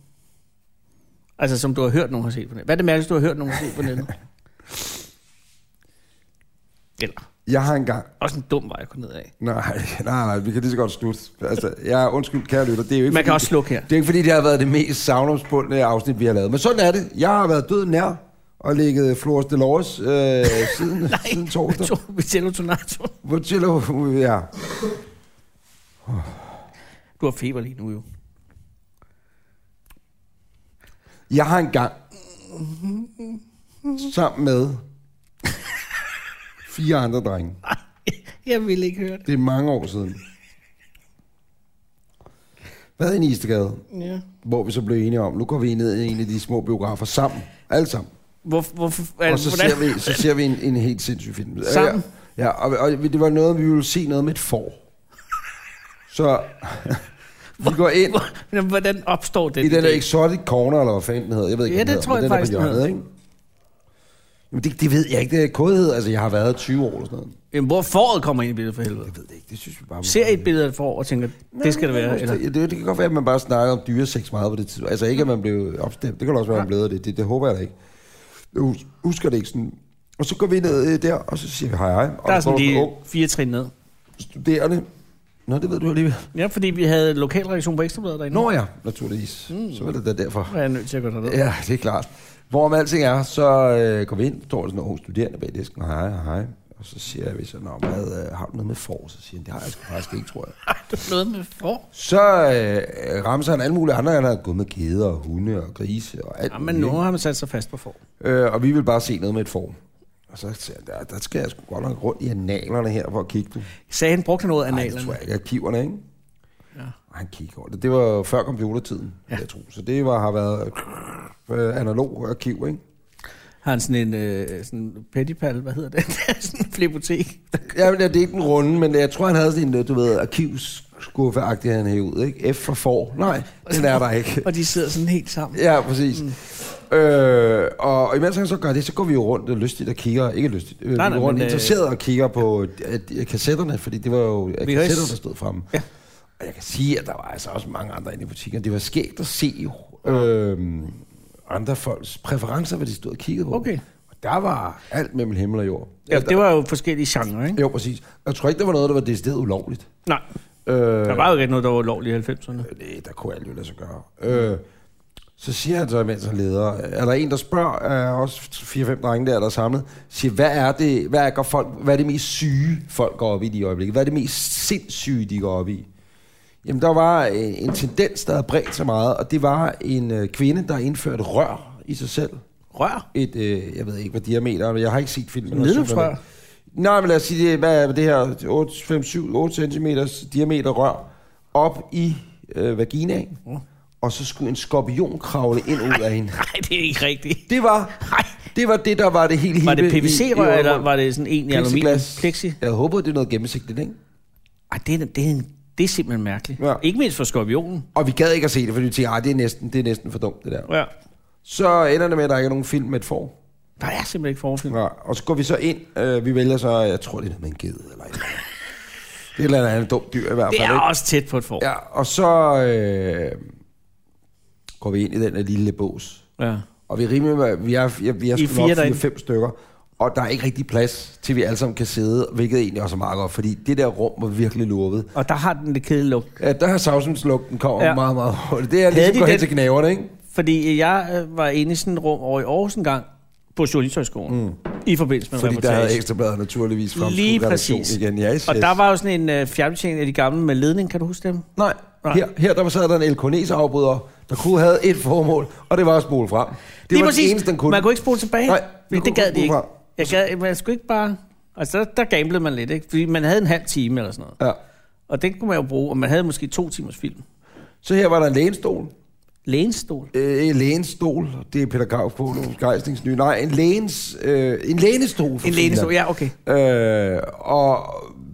Altså, som du har hørt nogen har set på nettet. Hvad er det mærkeligste, du har hørt nogen har set på nettet? Eller, Jeg har engang... også en dum vej at gå ned af. Nej, nej, nej, vi kan lige så godt slutte. Altså, jeg er undskyld, kære lytter. Det er jo ikke, Man kan fordi- også slukke her. Det er ikke fordi, det har været det mest savnomsbundne afsnit, vi har lavet. Men sådan er det. Jeg har været død nær og ligget Flores Delores øh, siden, siden torsdag. to, Vitello Tonato. Hvor til at- ja. Du har feber lige nu jo. Jeg har engang sammen med fire andre drenge. Jeg vil ikke høre det. Det er mange år siden. Hvad en Istegade, Ja. hvor vi så blev enige om, nu går vi ned i en af de små biografer sammen. Alle sammen. Hvor, hvorfor, Og så ser vi, så ser vi en, en helt sindssyg film. Sammen? Ja, ja og, og det var noget, vi ville se noget med et får. Så vi går ind Hvor, jamen, hvordan opstår den i den der idé? exotic corner, eller hvad fanden den hedder. Jeg ved ikke, Ja, hvad den det hedder, tror men jeg den er på faktisk, den hjørnet, hedder. ikke? Jamen, det, det ved jeg ikke. Det er kodhed. Altså, jeg har været 20 år eller sådan noget. Jamen, hvor foråret kommer ind i billedet for helvede. Jeg ved det ikke. Det synes vi bare... Ser I et billede af et forår og tænker, det skal det være. Eller? Det, det, det kan godt være, at man bare snakker om dyresex meget på det tidspunkt. Altså ikke, at man blev opstemt. Det kan også være, at man blev af det. det. Det håber jeg da ikke. Jeg hus- husker det ikke sådan. Og så går vi ned øh, der, og så siger vi hej hej. Og Der er står sådan lige en ung fire trin ned. studerende. Nå, det ved du alligevel. Ja, fordi vi havde lokalreaktion på Ekstrabladet derinde. Nå ja, naturligvis. Mm. Så var det da derfor. Nu er jeg nødt til at gå derned. Ja, det er klart. Hvorom alting er, så øh, går vi ind, står der sådan nogle studerende bag disken, og hej, og hej. Og så siger vi så, nå, hvad, øh, har du noget med for? Så siger han, det har jeg sgu faktisk ikke, tror jeg. Du er noget med for. Så øh, ramser han alle mulige andre, han har gået med kæder og hunde og grise og alt Jamen, muligt, nu har man sat sig fast på for. Øh, og vi vil bare se noget med et form. Og så siger han, der, der skal jeg sgu godt nok rundt i analerne her for at kigge dem. Sagde han, brugte han noget af Nej, det tror analerne? jeg ikke. Arkiverne, ikke? Ja. Og han kigger over det. Det var jo før computertiden, ja. jeg tror. Så det var, har været øh, analog arkiv, ikke? Har han sådan en øh, sådan pettipal, hvad hedder det? sådan en flipotek. Ja, men det er ikke den runde, men jeg tror, han havde sådan en, øh, du ved, arkivskuffe han hævde ud, ikke? F for for. Nej, den er der ikke. Og de sidder sådan helt sammen. Ja, præcis. Mm. Øh, og, og imens han så gør det, så går vi jo rundt øh, lystigt og kigger, ikke lystigt, øh, Nej, nej, vi nej, går rundt men, øh, interesseret og kigger på øh, øh, kassetterne, fordi det var jo øh, Vi har kassetterne, ikke- der stod fremme. Ja. Og jeg kan sige, at der var altså også mange andre inde i butikken. Det var skægt at se øh, andre folks præferencer, hvad de stod og kiggede på. Okay. Og der var alt mellem himmel og jord. Ja, det var jo forskellige genrer, ikke? Jo, præcis. Jeg tror ikke, der var noget, der var decideret ulovligt. Nej, Øh, der var jo ikke noget, der var ulovligt i 90'erne. det, Øh, der kunne alt jo lade sig gøre. Øh, så siger han så, mens han leder, er der en, der spørger, øh, også 4-5 drenge der, der er samlet, siger, hvad er det, hvad er, går folk, hvad er det mest syge, folk går op i de øjeblikket? Hvad er det mest sindssyge, de går op i? Jamen, der var øh, en tendens, der havde bredt sig meget, og det var en øh, kvinde, der indførte rør i sig selv. Rør? Et, øh, jeg ved ikke, hvad diameter er, men jeg har ikke set filmen. Nedløbsrør? Nej, men lad os sige, det, er- hvad er det her 8, 5, 7, 8 cm diameter rør op i øh, vaginaen, Mm. og så skulle en skorpion kravle ind ud af hende. Nej, det er ikke rigtigt. Det var Nej. det, var det der var det helt hippe. Var det i- i PVC-rør, undergrunden. eller var det sådan en i aluminium? Plexiglas. Plexi? Jeg håber, det er noget gennemsigtigt, ikke? Ej, det er, det er, det er simpelthen mærkeligt. Ja. Ikke mindst for skorpionen. Og vi gad ikke at se det, fordi vi tænkte, "Ej, det er næsten, det er næsten for dumt, det der. Ja. Så ender det med, at der ikke er nogen film med et får. Der er simpelthen ikke forskel. Ja, og så går vi så ind. Øh, vi vælger så, jeg tror, det er noget med en ged eller et eller andet. Det er et eller andet dumt dyr i hvert fald. Det er ikke? også tæt på et for. Ja, og så øh, går vi ind i den her lille bås. ja. Og vi er rimelig, vi er, vi er, vi er I sgu fire nok derinde? fire-fem stykker. Og der er ikke rigtig plads til, vi alle sammen kan sidde, hvilket egentlig også er meget godt, fordi det der rum var virkelig lurvet. Og der har den lidt kedelig lugt. Ja, der har savsumslugten kommer Ja. ja. meget, meget hurtigt. Det er ligesom de de gå hen den- til knæverne, ikke? Fordi jeg øh, var inde i sådan et rum over i Aarhus en gang, på Journalisthøjskolen. Mm. i forbindelse med Fordi der havde reportage. ekstrabladet naturligvis fremskudt Lige redaktion præcis. igen. Ja, yes, Og yes. der var jo sådan en øh, fjernbetjening af de gamle med ledning, kan du huske dem? Nej, Nej. Her, her der sad der en elkonese afbryder, der kunne have et formål, og det var at spole frem. Det Lige var præcis. det eneste, den kunne. Man kunne ikke spole tilbage. Nej, vi det, kunne det gad ikke de ikke. spole frem. Jeg gad, man skulle ikke bare... Altså, der, der gamblede man lidt, ikke? Fordi man havde en halv time eller sådan noget. Ja. Og den kunne man jo bruge, og man havde måske to timers film. Så her var der en lænestol. Lænestol. Øh, en lænestol. Det er Peter Graf på nu. Gejstings nye. Nej, en, lægens, øh, en lænestol. for En lænestol, Finland. ja, okay. Øh, og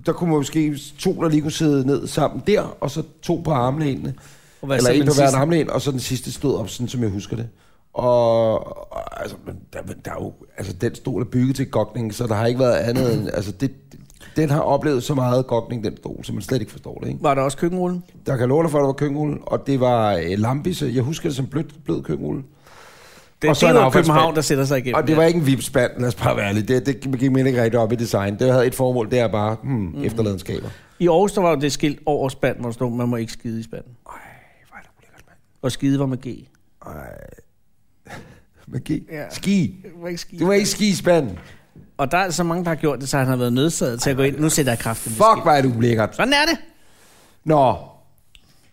der kunne måske to, der lige kunne sidde ned sammen der, og så to på armlænene. Og hvad Eller så en med på den hver sidste? armlæn, og så den sidste stod op, sådan som jeg husker det. Og, og altså, men der, men der er jo, altså, den stol er bygget til gokning, så der har ikke været andet end, altså, det, den har oplevet så meget gokning, den stol, så man slet ikke forstår det, ikke? Var der også køkkenrullen? Der kan jeg love dig for, at der var køkkenrulle, og det var øh, lampisse. Jeg husker det som blødt, blød køkkenrulle. Det, Og så det en er jo affaldsmand. København, der sætter sig igennem. Og det var ikke en vipspand, lad os bare være ærlige. Det, det gik mig ikke rigtig op i design. Det havde et formål, det er bare, hmm, mm. efterladenskaber. I Aarhus, der var jo det skilt over spanden, hvor der stod, man må ikke skide i spanden. Og skide var med G. Ej. Magi. Ja. Ja. Ski. Må ikke skide. Du var ikke ski i spanden. Og der er så mange, der har gjort det, så han har været nødsaget til at gå ind. Nu sætter jeg kraften Fuck, hvor er det ulækkert. Sådan er det. Nå,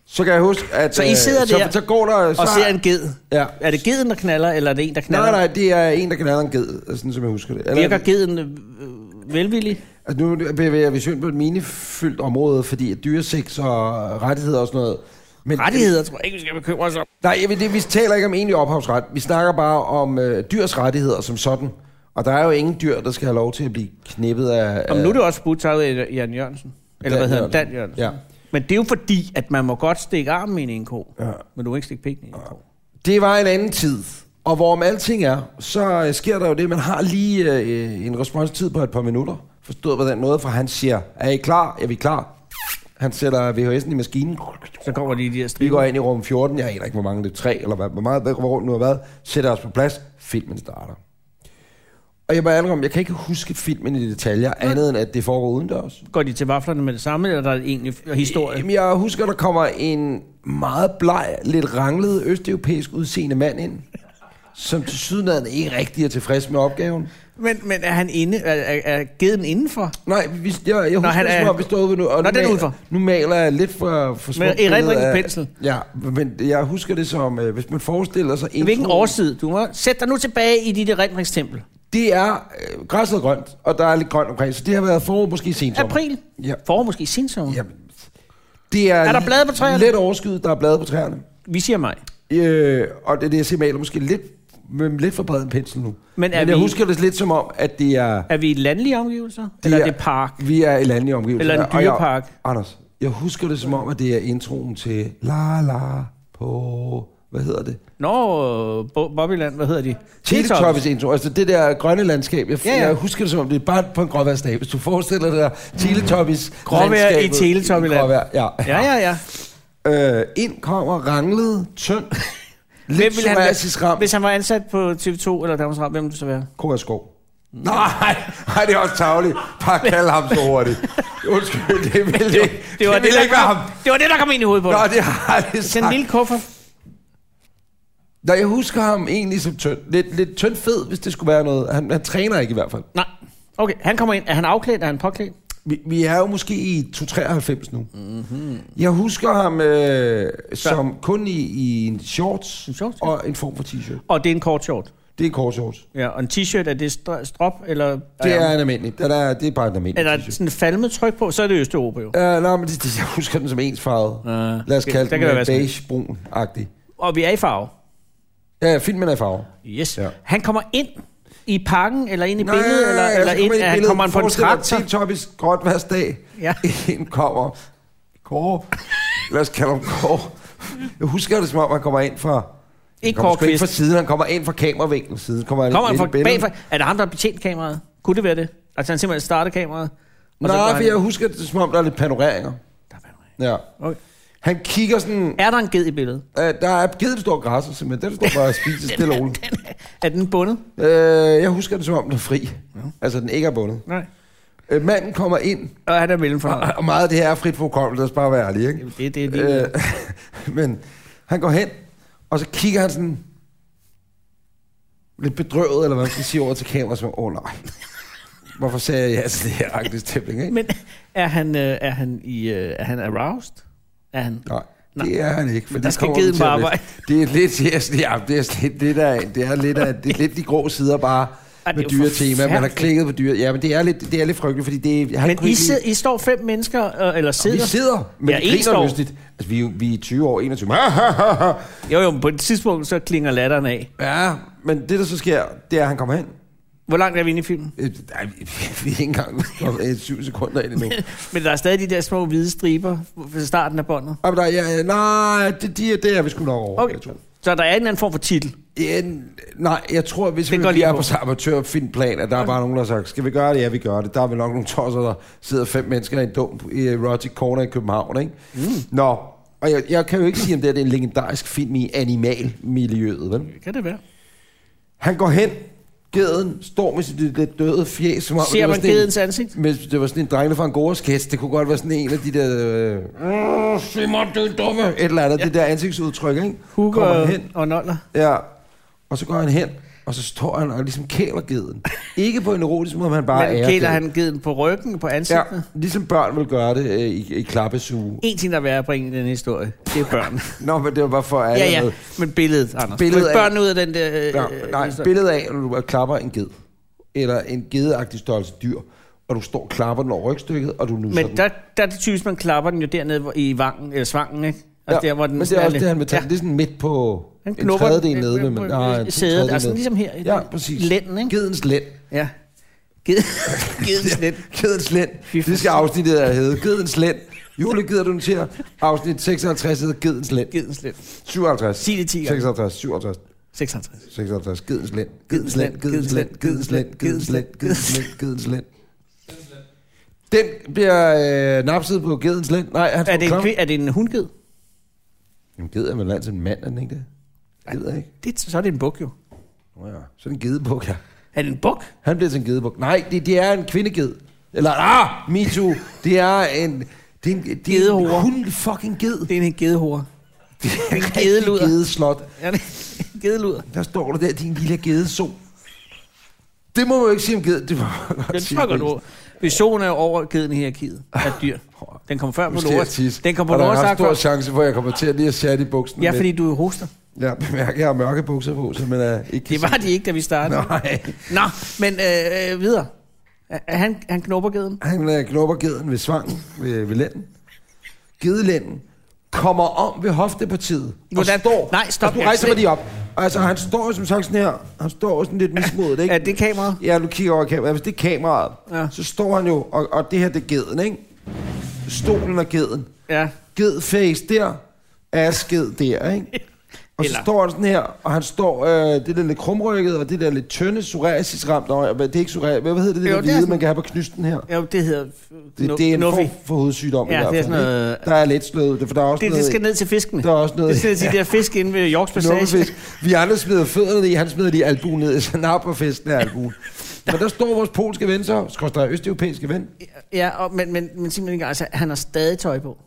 så kan jeg huske, at... Så I øh, sidder så, der så går der... Så, Og ser en ged. Ja. Er det geden, der knaller, eller er det en, der knaller? Nej, nej, det er en, der knaller en ged, sådan som jeg husker det. Virker geden øh, velvillig? Altså, nu bevæger vi os ind på et minefyldt område, fordi at dyreseks og rettigheder og sådan noget. Men, Rettigheder tror jeg ikke, vi skal bekymre os om. Nej, jeg ved det, vi taler ikke om egentlig ophavsret. Vi snakker bare om øh, dyrs rettigheder som sådan. Og der er jo ingen dyr, der skal have lov til at blive knippet af... Om nu af- er det også budt af Jan Jørgensen. Eller hvad hedder han? Dan Jørgensen. Ja. Men det er jo fordi, at man må godt stikke armen ind i en ko. Ja. Men du må ikke stikke pikken ind i en ko. Det var en anden tid. Og hvorom alting er, så øh, sker der jo det, man har lige øh, en responstid på et par minutter. Forstået på den måde, for han siger, er I klar? Er vi klar? Han sætter VHS'en i maskinen. Så kommer de i de Vi her går striber. ind i rum 14, jeg aner ikke, hvor mange det er, tre, eller hvad, hvor meget, hvor rundt nu har været, sætter os på plads, filmen starter. Og jeg må ærlig om, jeg kan ikke huske filmen i detaljer, andet end at det foregår udendørs. Går de til vaflerne med det samme, eller der er egentlig historie? Jamen, jeg husker, der kommer en meget bleg, lidt ranglet østeuropæisk udseende mand ind, som til sydenlandet ikke rigtig er tilfreds med opgaven. Men, men er han inde? Er, er, er geden indenfor? Nej, hvis, jeg, jeg husker, han han er, er- vi stod ude nu, og nu, Nå, den er maler- udenfor. nu maler jeg lidt for, for smukt erindringens billede af- pensel. Ja, men jeg husker det som, øh, hvis man forestiller sig... Hvilken introen- årsid? Du må sætte dig nu tilbage i dit erindringstempel. Det er øh, græsset er grønt, og der er lidt grønt omkring, så det har været forår, måske sent sommer. April? Ja. Forår måske i sensommer? ja. Det er, Er der blade på træerne? Lidt overskyet, der er blade på træerne. Vi siger mig. Øh, og det er det, jeg siger, maler måske lidt, med lidt for bred en pensel nu. Men er Men jeg vi- husker det lidt som om, at det er... Er vi i landlige omgivelser? Eller er det park? Vi er i landlige omgivelser. Eller en og jeg- dyrepark. Anders, jeg husker det som om, at det er introen til La La på... Hvad hedder det? Nå, Bo- Bobbyland, hvad hedder de? Teletubbies intro, altså det der grønne landskab, jeg, Ja, ja, ja. ja. jeg husker det som om, det er bare på en gråværsdag. Hvis du forestiller dig Teletubbies Gråvejr i landskabet Teletubbyland. gråvejr, ja. Ja, ja, ja. Øh, ind kommer ranglet, tynd, Hvem lidt ville han psoriasis være, ramt, hvis han var ansat på TV2 eller Danmarks Radio, hvem ville det så være? Kåre Skov. Nej, nej, det er også tavligt. Bare kald ham så hurtigt. Undskyld, det ville ikke, det var ville der ikke være ham. kom- det var det, der kom ind i hovedet på dig. Nå, det har jeg aldrig Den sagt. lille kuffert. Nå, jeg husker ham egentlig som tynd. Lidt, lidt tynd fed, hvis det skulle være noget. Han, han træner ikke i hvert fald. Nej. Okay, han kommer ind. Er han afklædt? Er han påklædt? Vi, vi er jo måske i 293 nu. Mm-hmm. Jeg husker ham øh, som kun i, i en shorts, En shorts, ja. og en form for t-shirt. Og det er en kort short. Det er kort shorts. Ja, og en t-shirt, er det str- strop? Eller Det er en almindelig. Det er, det er bare en er almindelig der t-shirt. sådan en falmet tryk på, så er det Østeuropa jo. Uh, nej, men det, det, jeg husker den som ensfarvet. Uh, Lad os kalde der kan den være øh, sådan- beige-brun-agtig. Og vi er i farve. Ja, ja, filmen er i farve. Yes. Ja. Ja. Han kommer ind i parken, eller ind i billedet, eller, eller ind, at han kommer på en traktor. T-Toppis, godt hversdag. Ja. Ja. Ind kommer Kåre. Lad os kalde ham Kåre. Jeg husker det som om, han kommer ind fra... Ikke kommer Kåre sgu ikke fra Kvist. siden, han kommer ind fra kameravinklen siden. Kommer han Kommer han ind fra i billedet. bagfra? Er det ham, der har betjent kameraet? Kunne det være det? Altså han simpelthen starter kameraet? og så går Nej, han for ind. jeg husker det som om, der er lidt panoreringer. Der er panorering. Ja. Okay. Han kigger sådan... Er der en ged i billedet? Øh, der er givet en stor græsser, simpelthen. Den står bare og spiser stille og roligt. Er den bundet? Øh, jeg husker det som om, den er fri. Altså, den ikke er bundet. Nej. Øh, manden kommer ind, Og han er mellemfornøjet. og meget af det her er frit for lad os bare være ærlige, ikke? Det, det er lige... Øh, men han går hen, og så kigger han sådan... lidt bedrøvet, eller hvad man skal sige over til kameraet, som, åh oh, nej, hvorfor sagde jeg ja til det her angstestempling, ikke? Men er han, øh, er han, i, øh, er han aroused? Er han? Nej, Nej. det er han ikke. For Men det der skal kommer gide vi til mig om lidt. arbejde. Det er lidt, yes, det er, det er lidt, lidt af, det er lidt af, det er lidt de grå sider bare Ej, med det er jo dyre tema. Man har forfærdeligt. klikket på dyre. Ja, men det er lidt, det er lidt frygteligt, fordi det er... han Men kunne I, ikke lide- sid, I står fem mennesker, øh, eller sidder? Vi sidder, men Ja, ja, en det griner står. lystigt. Altså, vi, er jo- vi er 20 år, 21. ja, Jo, jo, men på et tidspunkt, så klinger latteren af. men det, der så sker, det er, at han kommer hen. Hvor langt er vi inde i filmen? Øh, nej, vi vi er ikke engang kommet øh, syv sekunder ind endnu. Men der er stadig de der små hvide striber ved starten af båndet. Ah, men der, ja, ja, nej, det, de, er- det er vi sgu nok over. Okay. Jeg tror. Så der er en eller anden form for titel. Ja, nej, jeg tror, hvis Det vi går lige lige er på. på samme amatørfilmplan, at der er bare nogen, der har sagt, skal vi gøre det? Ja, vi gør det. Der er vel nok nogle tosser, der sidder fem mennesker i en dum erotic corner i København, ikke? Mm. Nå, og jeg, jeg, kan jo ikke sige, om det, her, det er en legendarisk film i animalmiljøet, vel? Kan det være? Han går hen, geden står med sit lidt døde fjes, som om Ser det var man sådan en, gedens ansigt? men det var sådan en drengene fra en god sketch. Det kunne godt være sådan en af de der... Øh, "Åh, se mig, du dumme! Et eller andet, ja. det der ansigtsudtryk, ikke? Hugger Kommer hen, og noller. Ja, og så går han hen, og så står han og ligesom kæler geden. Ikke på en erotisk måde, men bare Men ærer kæler geden. han geden på ryggen, på Ja, ansigtet? ligesom børn vil gøre det øh, i, i klappesuge. En ting, der er værd at bringe i den historie, det er børn. Nå, men det var bare for at ja, ja, men billedet, Billedet Anders. Billedet af- børn ud af den der... Øh, Ja, nej, historie. billedet af, når du klapper en ged, eller en gedeagtig størrelse dyr, og du står og klapper den over rygstykket, og du nusser Men den. der, der er det typisk, man klapper den jo dernede hvor- i vangen, eller svangen, ikke? Altså der, hvor den men det sådan er er også lidt- det, han vil tage. Ja. Ja. Det er sådan midt på Han en knupper tredjedel den, nede. øh, Men, øh, nej, en sædet, tredjedel altså nede. ligesom her i Ja, den- præcis. lænden, ikke? Gedens lænd. Ja. Ged, gedens net. Gedens lænd. Fy for Det skal afsnittet af hedde. Gedens lænd. Jule, gider du notere? Afsnit 56 hedder Gedens lænd. Gedens net. 57. Sig det 10 gange. 56, 57, 56. 56. Gedens lænd. Gedens lænd. Gedens lænd. Gedens lænd. Gedens lænd. Gedens lænd. Gedens lænd. Den bliver øh, napset på gedens lænd. Nej, han Er det, en, klam. kvi- er det en hundged? Jamen, ged er vel altid en mand, er den ikke det? Ged er ikke. Det, så er det en buk jo. Nå ja, så er det en gedebuk, ja. Er det en buk? Han bliver til en gedebuk. Nej, det, det er en kvindeged. Eller, ah, me too. Det er en... Det er en, det er Gedehore. en hun fucking ged. Det er en gedehore. Det er en gedeluder. rigtig gedeslot. Er det en gedeluder? Der står der der, din lille gedeso. Det må man jo ikke sige om ged. Det må man godt Den sige fucker om du. Visionen er jo over geden i hierarkiet af dyr. Den kom før på Nu skal jeg Loras. tisse. Den kom på Og der Loras er en stor Ark. chance for, at jeg kommer til at lige at sætte i buksen. Ja, fordi du hoster. Jeg bemærker, jeg har mørke bukser på, så man er ikke... Det var de ikke, da vi startede. Nej. Nå, men øh, øh, videre. Er- er Han, han knopper geden. Han øh, knopper geden ved svangen, ved, ved lænden. Gedelænden kommer om ved hoftepartiet. Hvordan- Og står, Nej, Altså, stop. Jeg du kan rejser se- mig lige op. Altså, han står jo som sagt sådan her. Han står jo sådan lidt mismodet, ikke? Er det kameraet? Ja, du kigger over i kameraet. Hvis det er kameraet, Ja. ja. så står han jo, og, og det her, det er geden, ikke? Stolen og geden. Ja. Ged face der, ass ged der, ikke? Og så Eller- står han sådan her, og han står, øh, det der lidt krumrykket, og det der lidt tynde psoriasis-ramt øje, men det er ikke psoriasis, hvad hedder det, det Jo, der det er hvide, sådan- man kan have på knysten her? Jo, det hedder... Det, det er en Nuffy. form for hovedsygdom Ja, i hvert det er fald. sådan noget- ikke? Der er lidt slød, det- for der er også Det, det noget... skal ned til fiskene. Der er også noget... Det skal ned til de der fisk inde ved Yorks Passage. Knoppefisk. Vi andre smider fødderne i, han smider lige albuen ned, så napper festen af albuen. Men der står vores polske ven så, skorstræk østeuropæiske ven. Ja, og, men, men, men simpelthen ikke, altså, han har stadig tøj på.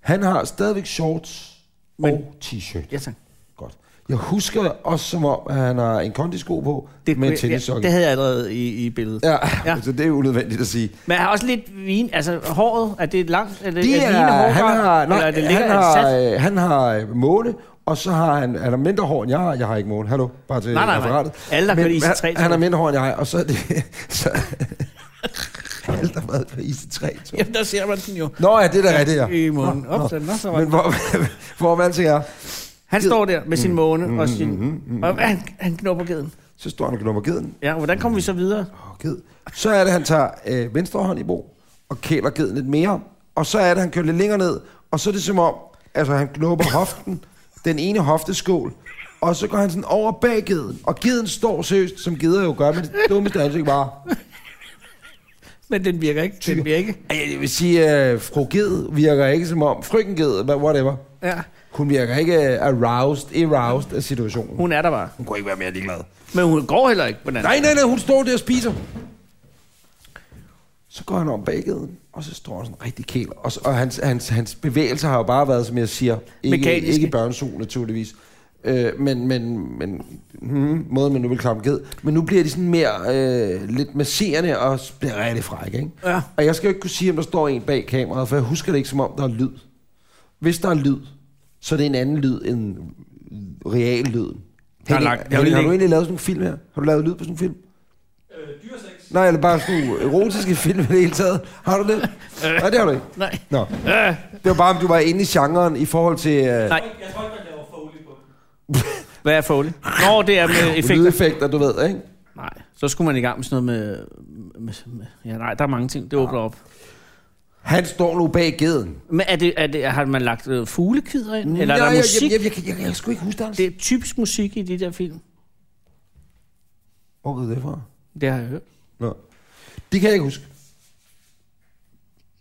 Han har stadigvæk shorts Men- Men. og t-shirt. Ja, tak. Godt. Jeg husker også som om, at han har en kondisko på det, med en tennissokke. ja, det havde jeg allerede i, i billedet. Ja, Ja. ja. så det er unødvendigt at sige. Men han har også lidt vin, altså håret, er det langt? Er det, De er, er det ligner hårgrad, han har, eller nej, er det længere, han, er det sat? har, øh, han har øh, måne, og så har han, han har mindre hår end jeg har. Jeg har ikke måne. Hallo, bare til Nej, nej, nej. referatet. Alle, der Men kørte han- IC3 -tog. Han har mindre hår end jeg, og så er det... Så, alle, der har været på IC3. -tog. Jamen, der ser man den jo. Nå ja, det er da rigtigt, ja. I månen. Nå, Op, nå. så, nå, så var Men den. hvor, hvor man tænker, Han står der med Mm-hmm. sin måne og sin... og han, han knupper geden. så står han og knupper geden. Ja, og hvordan kommer vi så videre? Åh, ged. Så er det, han tager øh, venstre hånd i brug, og kæler geden lidt mere. Og så er det, han kører lidt længere ned, og så er det som om, altså han knupper hoften, den ene hofteskål, og så går han sådan over bag geden, og geden står seriøst, som geder jo gør, men det dummeste ansigt bare. Men den virker ikke. Den virker ikke. Ej, Jeg vil sige, øh, fru ged virker ikke som om, frøken ged, hvad- whatever. Ja. Hun virker ikke øh, aroused, aroused af situationen. Hun er der bare. Hun kunne ikke være mere ligeglad. Men hun går heller ikke på den anden. Nej, nej, nej, hun står der og spiser. Så går han om bagheden, og så står han sådan rigtig kæler. Og, så, og hans, hans, hans bevægelser har jo bare været, som jeg siger, ikke, Mekaniske. ikke børnesug naturligvis. Øh, men, men, men hmm, måden, man nu vil klappe ged. Men nu bliver de sådan mere øh, lidt masserende og s- bliver rigtig frække, ikke? Ja. Og jeg skal jo ikke kunne sige, om der står en bag kameraet, for jeg husker det ikke, som om der er lyd. Hvis der er lyd, så er det en anden lyd end real lyd. Der er Henning, lagt- jeg vil Henning, har ikke- du egentlig lavet sådan en film her? Har du lavet lyd på sådan en film? Øh, dyresex. Nej, eller bare sådan nogle erotiske film i det hele taget. Har du det? Øh. Nej, det har du ikke. Nej. Nå. Øh. Det var bare, om du var inde i genren i forhold til øh, Nej. Jeg tror ikke, man laver foley på den. Hvad er Foley? Nå, det er med effekter. lydeffekter, du ved, ikke? Nej, så skulle man i gang med sådan noget med... med, med ja, nej, der er mange ting, det åbner Ah. op. Han står nu bag geden. Men er det, er det, har man lagt øh, fuglekvider ind? Eller er jeg, der musik? Jeg, jeg, jeg, jeg, jeg, jeg, kan sgu ikke huske det. Det er typisk musik i de der film. Hvor er det fra? Det har jeg hørt. Nå. Det kan jeg ikke huske.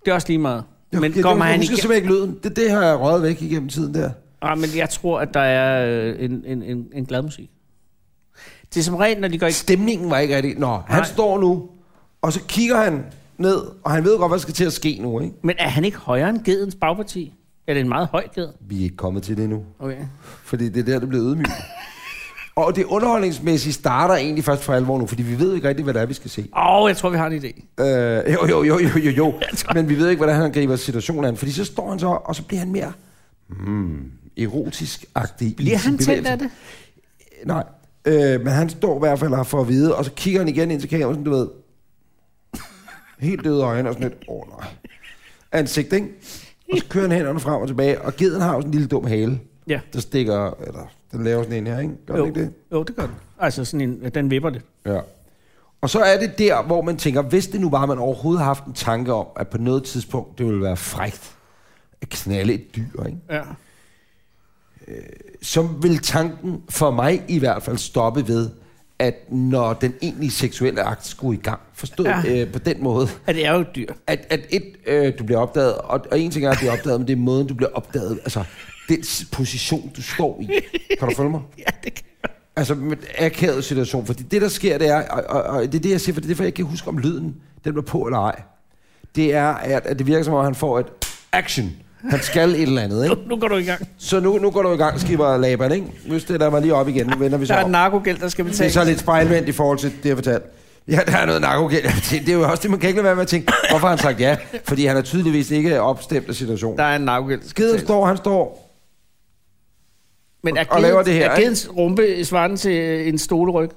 Det er også lige meget. Jeg, Men jeg, kommer jeg, han jeg husker igen? simpelthen ikke lyden. Det, det har jeg røget væk igennem tiden der. Ah, men jeg tror, at der er øh, en, en, en, en glad musik. Det er som regel, når de går i... Stemningen var ikke rigtig... Nå, han Nej. står nu, og så kigger han ned, og han ved godt, hvad der skal til at ske nu, ikke? Men er han ikke højere end gedens bagparti? Er det en meget høj ged? Vi er ikke kommet til det endnu. Okay. Fordi det er der, det bliver ydmyget. og det underholdningsmæssige starter egentlig først for alvor nu, fordi vi ved ikke rigtig, hvad det er, vi skal se. Åh, oh, jeg tror, vi har en idé. Øh, jo, jo, jo, jo, jo, jo. Men vi ved ikke, hvordan han griber situationen an, fordi så står han så, og så bliver han mere mm, erotisk-agtig. i Bliver sine han tændt af bevægelser. det? Nej, øh, men han står i hvert fald og har for at vide, og så kigger han igen ind til kameraet, sådan, du ved, helt døde øjne og sådan lidt, åh oh, nej, ansigt, ikke? Og så kører han hænderne frem og tilbage, og geden har jo sådan en lille dum hale, Ja. der stikker, eller den laver sådan en her, ikke? Gør den Jo. ikke det? jo, det gør den. Altså, sådan en, den vipper det. Ja. Og så er det der, hvor man tænker, hvis det nu var, at man overhovedet har haft en tanke om, at på noget tidspunkt, det ville være frægt at knalde et dyr, ikke? Ja. så vil tanken for mig i hvert fald stoppe ved, at når den egentlige seksuelle akt skulle i gang, forstået ja. Ja. øh, på den måde, Og det er jo et dyr. at, at et, øh, du bliver opdaget, og, og en ting er at blive opdaget, men det er måden, du bliver opdaget, altså den s- position, du står i. Kan du følge mig? Ja, det kan Altså, med akavet situation, fordi det, der sker, det er, og, og, og det er det, jeg siger, for det er derfor, jeg ikke kan huske, om lyden, den var på eller ej. Det er, at, at det virker som om, han får et action. Han skal et eller andet, ikke? Nu, nu går du i gang. Så nu, nu går du i gang, skipper Laban, ikke? Nu stiller jeg mig lige op igen, nu vender vi så Der er op. et narkogæld, der skal Det er betales. så lidt spejlvendt i forhold til det, jeg fortalte. Ja, der er noget narkogæld. Det er jo også det, man kan ikke lade være med at tænke, hvorfor har han sagt ja? Fordi han er tydeligvis ikke opstemt af situationen. Der er en narkogæld, der skal Skeden betales. står, han står. Men er og laver det her, er ikke? gedens rumpe svarende til øh, en stoleryg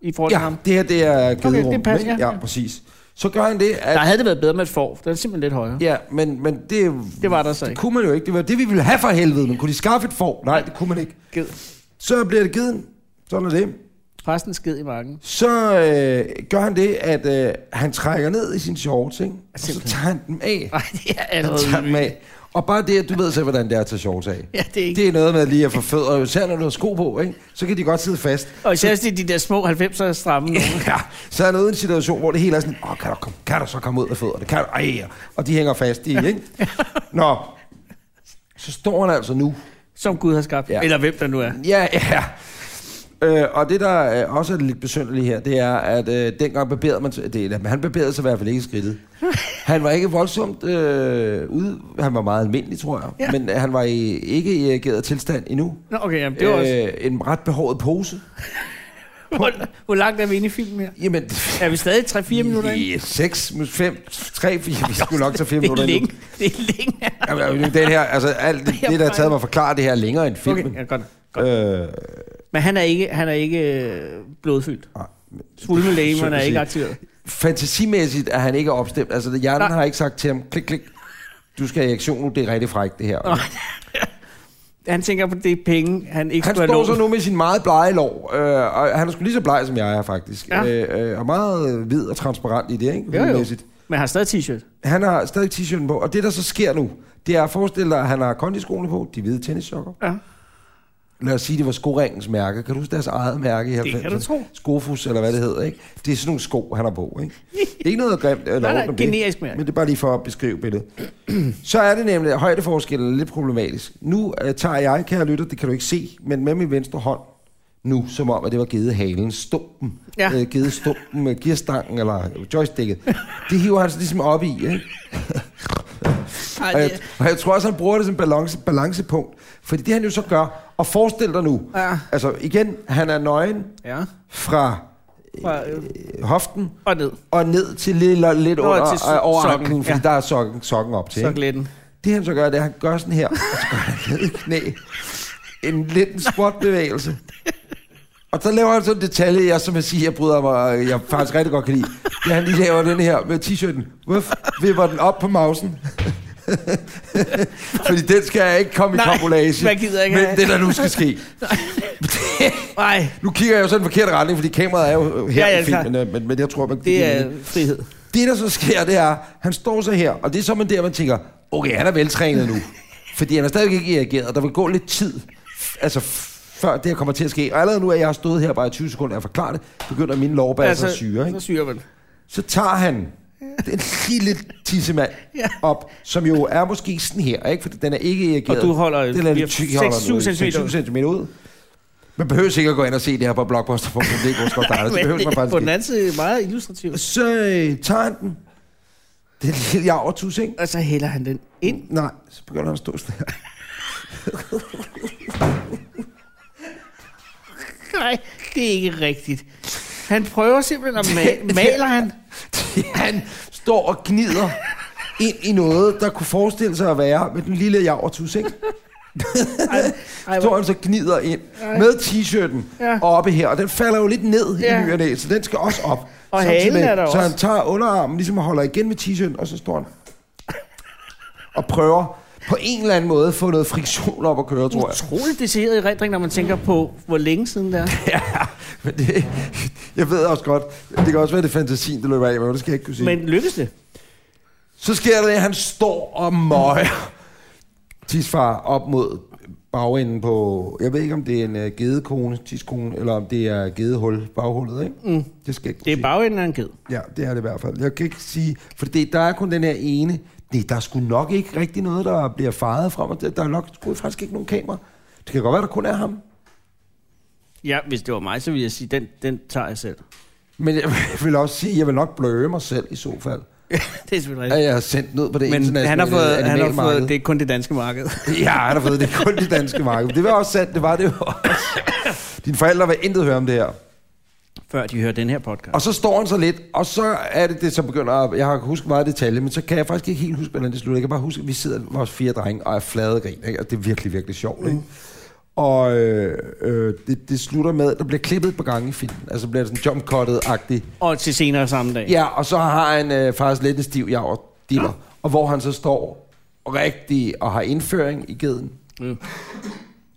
i forhold til Ja, ham? det her, det er gederum. det passer, ikke? ja. ja, præcis. Så gør han det, at... Der havde det været bedre med et får. Den er simpelthen lidt højere. Ja, men, men det, Det var der så det ikke. kunne man jo ikke. Det var det, vi ville have for helvede, men kunne de skaffe et for? Nej, det kunne man ikke. Ged. Så bliver det giden. Sådan er det. Resten sked i marken. Så øh, gør han det, at øh, han trækker ned i sin shorts, ikke? Og så Simpelthen. tager han dem af. Nej, det er Han tager allerede... dem af. Og bare det, at du ved selv, hvordan det er at tage shorts af. Ja, det er ikke... Det er noget med lige at få fødder, især når du har sko på, ikke? så kan de godt sidde fast. Og især hvis det er de der små 90'er stramme. nogen. Ja, så er han ude i en situation, hvor det hele er sådan, åh, kan du, komme, kan du så komme ud af fødderne? Kan du? Ej, og de hænger fast i, ikke? Nå, så står han altså nu. Som Gud har skabt. Ja. Eller hvem der nu er. Ja, ja. Øh, og det, der øh, også er lidt besynderligt her, det er, at øh, dengang barberede man... sig- Det, er- han barberede sig i hvert fald ikke i skridtet. Han var ikke voldsomt øh, ude. Han var meget almindelig, tror jeg. Ja. Ja. Men øh, han var i, ikke i erigeret tilstand endnu. Nå, okay, jamen, det var også... øh, en ret behåret pose. Hvor, hvor langt er vi inde i filmen her? Jamen, Er vi stadig 3-4 minutter inde? 6, 5, 3, 4, vi skulle nok tage 4 Det minutter er længe. endnu. Det er længe. Jamen, den her, altså alt det, det der har taget mig at forklare det her er længere end filmen. Okay, ja, godt. Okay. Øh, Men han er ikke, han er ikke øh, blodfyldt. nej, Svulme læge, Synd man at er ikke sige. aktiveret. fantasimæssigt er han ikke opstemt. Altså, hjernen Nej. Nej. har ikke sagt til ham, klik, klik, du skal have erektion nu, det er rigtig frækt det her. Nå, Han tænker på det penge, han ikke Han skulle står have så lånt. nu med sin meget blege lår, øh, og han er sgu lige så bleg, som jeg er, faktisk. Ja. Øh, øh, og meget øh, hvid og transparent i det, ikke? Jo, jo. Hudmæssigt. Men har stadig t-shirt. Han har stadig t-shirten på, og det, der så sker nu, det er, forestil dig, at han har kondiskoene på, de hvide tennissokker. Ja. Lad os sige, det var skoringens mærke. Kan du huske deres eget mærke i 90'erne? kan du tro. Skofus, eller hvad det hedder, ikke? Det er sådan nogle sko, han har på, ikke? Det er ikke noget grimt eller Nej, nej, ondt om det. generisk mærke. Men det er bare lige for at beskrive billedet. Så er det nemlig, at højdeforskellen er lidt problematisk. Nu øh, tager jeg, kære lytter, det kan du ikke se, men med min venstre hånd nu, som om, at det var gedehalen, stumpen, Ja. øh, gedestumpen med gearstangen eller joysticket. Det hiver han så ligesom op i, ikke? Ej, Og det, jeg, og jeg tror også, han bruger det som balance, balancepunkt. Fordi det, han jo så gør, Og forestil dig nu, Ja. altså igen, han er nøgen Ja. fra Fra, øh, øh, hoften og ned. og ned til lidt, lidt Nå, under til so- øh, over sokken, anklen, fordi ja. der er sokken, sokken op til. Så Ikke? glæden. Det han så gør, det er, at han gør sådan her, og så gør han ned i knæ. En lidt squat-bevægelse. Og så laver han sådan en detalje, jeg som jeg siger, jeg bryder mig, øh, jeg faktisk rigtig godt kan lide. Det er, han lige laver den her med t-shirten. Wuff, vipper den op på mausen. Fordi den skal jeg ikke komme Nej, i kompolage. man gider ikke Men have. det, der nu skal ske. Nej, nu kigger jeg jo sådan i den forkerte retning, fordi kameraet er jo her Ja, ja, i filmen, klar. øh, men, men jeg tror, man... det er frihed. Det, der så sker, det er, han står så her, og det er så man der, man tænker, okay, han er veltrænet nu. Fordi han er stadig ikke reageret, og der vil gå lidt tid, f- altså f- før det her kommer til at ske. Og allerede nu, at jeg har stået her bare i 20 sekunder og forklaret det, begynder mine lårbær altså, at syre. Ikke? Så syre man. Så tager han den lille tissemand Ja. op, som jo er måske sådan her, ikke? fordi den er ikke reageret. Og du holder den er lidt tyk, fire- seks- jeg holder den syv ud. centimeter Seks- ud. syv centimeter ud. Man behøver sikkert gå ind og se det her på blogposter.dk. Det behøver man faktisk på den ikke. anden side meget illustrativt. Så øh, tager han den. Det er en lille javertus, ikke? Og så hælder han den ind. Nej, så begynder han at stå sådan her. Nej, det er ikke rigtigt. Han prøver simpelthen at ma- maler han. Han står og gnider ind i noget, der kunne forestille sig at være med den lille javertus, ikke? Står Ej, hvor- han så gnider ind med t-shirten Ja. oppe her, og den falder jo lidt ned Ja. i ny og næ, så den skal også op. Og Samtidig halen med- er der Så også. han tager underarmen, ligesom og holder igen med t-shirten, og så står han og prøver på en eller anden måde at få noget friktion op at køre, tror jeg. Utroligt desseret i rendring, når man tænker på, hvor længe siden det er. Ja, men det, jeg ved også godt, det kan også være, det er fantasien, der løber af mig, men det skal jeg ikke kunne sige. Men... Men lykkes det? Så sker der det, at han står og møger tisfar op mod bagenden på, jeg ved ikke, om det er en uh, gedekone, tiskone, eller om det er gedehul, baghullet, ikke? Mm. Det skal jeg ikke Det er sige. bagenden af en ged. Ja, det er det i hvert fald. Jeg kan ikke sige, for det, der er kun den her ene. Det, der er sgu nok ikke rigtig noget, der bliver faret frem, og der der er nok sgu faktisk ikke nogen kamera. Det kan godt være, der kun er ham. Ja, hvis det var mig, så ville jeg sige, den, den tager jeg selv. Men jeg vil også sige, jeg vil nok bløde mig selv i så fald. det er selvfølgelig at rigtigt. jeg har sendt ned på det Men internationale han har fået, han har fået, animalmarked. det er kun det danske marked. Ja, han har fået det kun det danske marked. Det var også sandt, det var det jo også. Dine forældre vil intet høre om det her. Før de hører den her podcast. Og så står han så lidt, og så er det det, som begynder at... Jeg har husket meget detalje, men så kan jeg faktisk ikke helt huske, hvordan det slutter. Jeg kan bare huske, at vi sidder, vores fire drenge, og er flade grin, ikke? Og det er virkelig, virkelig sjovt, ikke? Og øh, øh, det, det, slutter med, at der bliver klippet et par gange i filmen. Altså bliver det sådan jump cuttet-agtigt. Og til senere samme dag. Ja, og så har han øh, faktisk lidt en stiv javer, diller, og hvor han så står rigtig og har indføring i geden. Mm.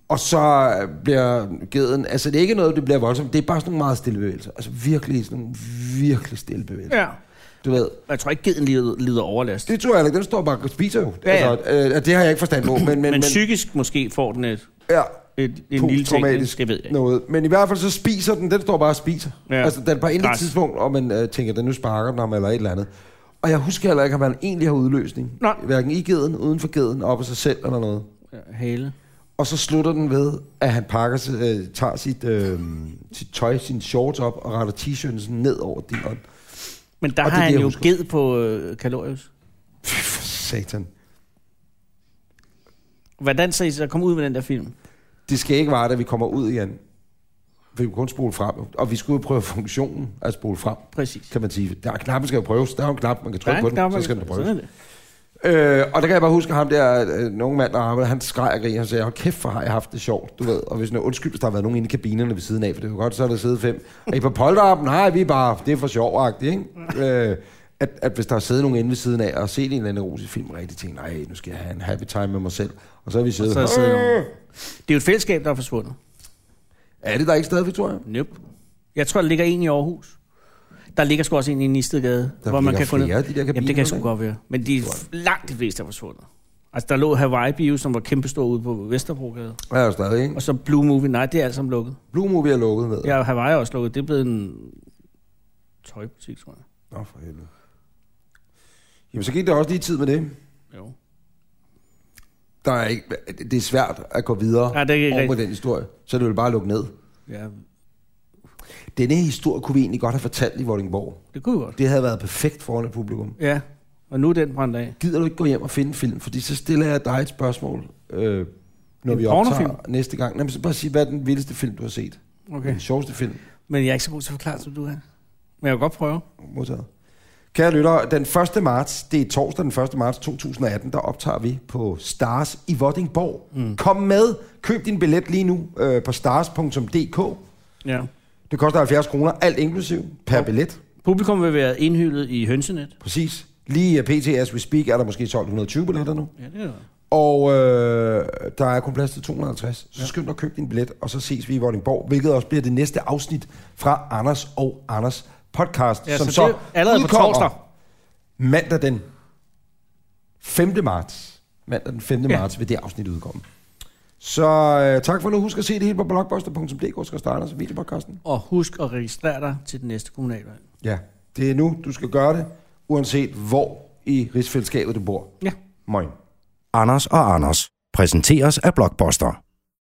Og så øh, bliver geden, altså det er ikke noget, det bliver voldsomt, det er bare sådan nogle meget stille bevægelser. Altså virkelig, sådan nogle virkelig stille bevægelser. ja. Du ved, Jeg tror ikke, geden lider, lider overlast. Men, det tror jeg ikke, den står bare og spiser jo. Ja, ja. Altså, øh, det har jeg ikke forstand på, men... Men, men psykisk måske får den et, ja, et, en lille ting. ikke? posttraumatisk Det ved jeg ikke. noget. Men i hvert fald så spiser den, den står bare og spiser. Ja. Ja. Altså, den er bare intet Græs. tidspunkt, og man øh, tænker, den nu sparker den ham eller et eller andet. Og jeg husker heller ikke, om han egentlig har udløsning. Nej. Hverken i geden, uden for geden, op af sig selv eller noget. Ja, Hale. Og så slutter den ved, at han pakker, sig- øh, tager sit, øh, sit tøj, sin shorts op og retter t-shirten sådan ned over din ånd. Men der Og det har er det, han jeg jo husker. ged på øh, kalorius. For satan. Hvordan så I så kom ud med den der film? Det skal ikke være, at vi kommer ud igen. For vi kunne kun spole frem. Og vi skulle jo prøve funktionen at spole frem, Præcis. kan man sige. Der er knappen, skal jo prøves. Der er jo en knap, man kan trykke Der er på den, en knap, så man skal kan- den prøves. sådan er det. Øh, og der kan jeg bare huske ham der, øh, nogle mand, der arbejdede, han skreg og grinede, han sagde, hold kæft, for har jeg haft det sjovt, du ved. Og hvis nu, undskyld, hvis der har været nogen inde i kabinerne ved siden af, for det var godt, så er der siddet fem. Og I på polterappen, nej, vi er bare, det er for sjovt, ikke? Øh, at, at hvis der har siddet nogen inde ved siden af og set en eller anden erotisk film, rigtig ting, nej, nu skal jeg have en happy time med mig selv. Og så har vi siddet, så har så jeg siddet nogen. er, Det er jo et fællesskab, der er forsvundet. er det der ikke stadig, Victoria? Nope. Jeg tror, der ligger en i Aarhus. Der ligger sgu også en i Nistedgade, Der hvor man ligger kan gå ned. flere af de der Jamen, det kabiner, kan sgu ikke? godt være. Men de er f- langt de fleste er forsvundet. Altså, der lå Hawaii Bio, som var kæmpestor ude på Vesterbrogade. Ja, er jo stadig, ikke? Og så Blue Movie. Nej, det er alt sammen lukket. Blue Movie er lukket ned. Ja, og Hawaii er også lukket. Det er blevet en tøjbutik, tror jeg. Nå, for helvede. Jamen, så gik der også lige tid med det. Jo. Der er ikke, det er svært at gå videre Ja, det er ikke over rigtigt. den historie. Så er det vil bare lukke ned. Ja, Denne historie kunne vi egentlig godt have fortalt i Vordingborg. det kunne vi godt. Det havde været perfekt foran et publikum. Ja, og nu er den brændt af. Gider du ikke gå hjem og finde en film? Fordi så stiller jeg dig et spørgsmål, øh, når En vi optager pornofilm? næste gang. Jamen, så bare sige, hvad er den vildeste film, du har set? Okay. Den sjoveste film, Men jeg er ikke så god til at forklare, som du er. Men jeg vil godt prøve. modtaget. Kære lyttere, den 1. marts, det er torsdag den 1. marts 2018, der optager vi på Stars i Vordingborg. Mm. Kom med, køb din billet lige nu øh, på stars.dk. Ja. Det koster 70 kroner, alt inklusiv, per billet. Publikum vil være indhyllet i hønsenet. Præcis. Lige øh, pt. as we speak er der måske 1220 billetter nu. Ja, det er det. Og øh, der er kun plads til 250. Så skynd dig at købe din billet, og så ses vi i Vordingborg, hvilket også bliver det næste afsnit fra Anders og Anders podcast, Ja, som så, så, det er allerede på udkommer torsdag. mandag den 5. marts. Mandag den 5. Ja. Ja. marts vil det afsnit udkomme. Så øh, tak for nu. Husk at se det hele på blogbuster.dk, skal starte os videopodcasten. Og husk at registrere dig til den næste kommunalvalg. Ja, det er nu, du skal gøre det, uanset hvor i rigsfællesskabet du bor. Ja. Moin. Anders og Anders præsenteres af Blockbuster.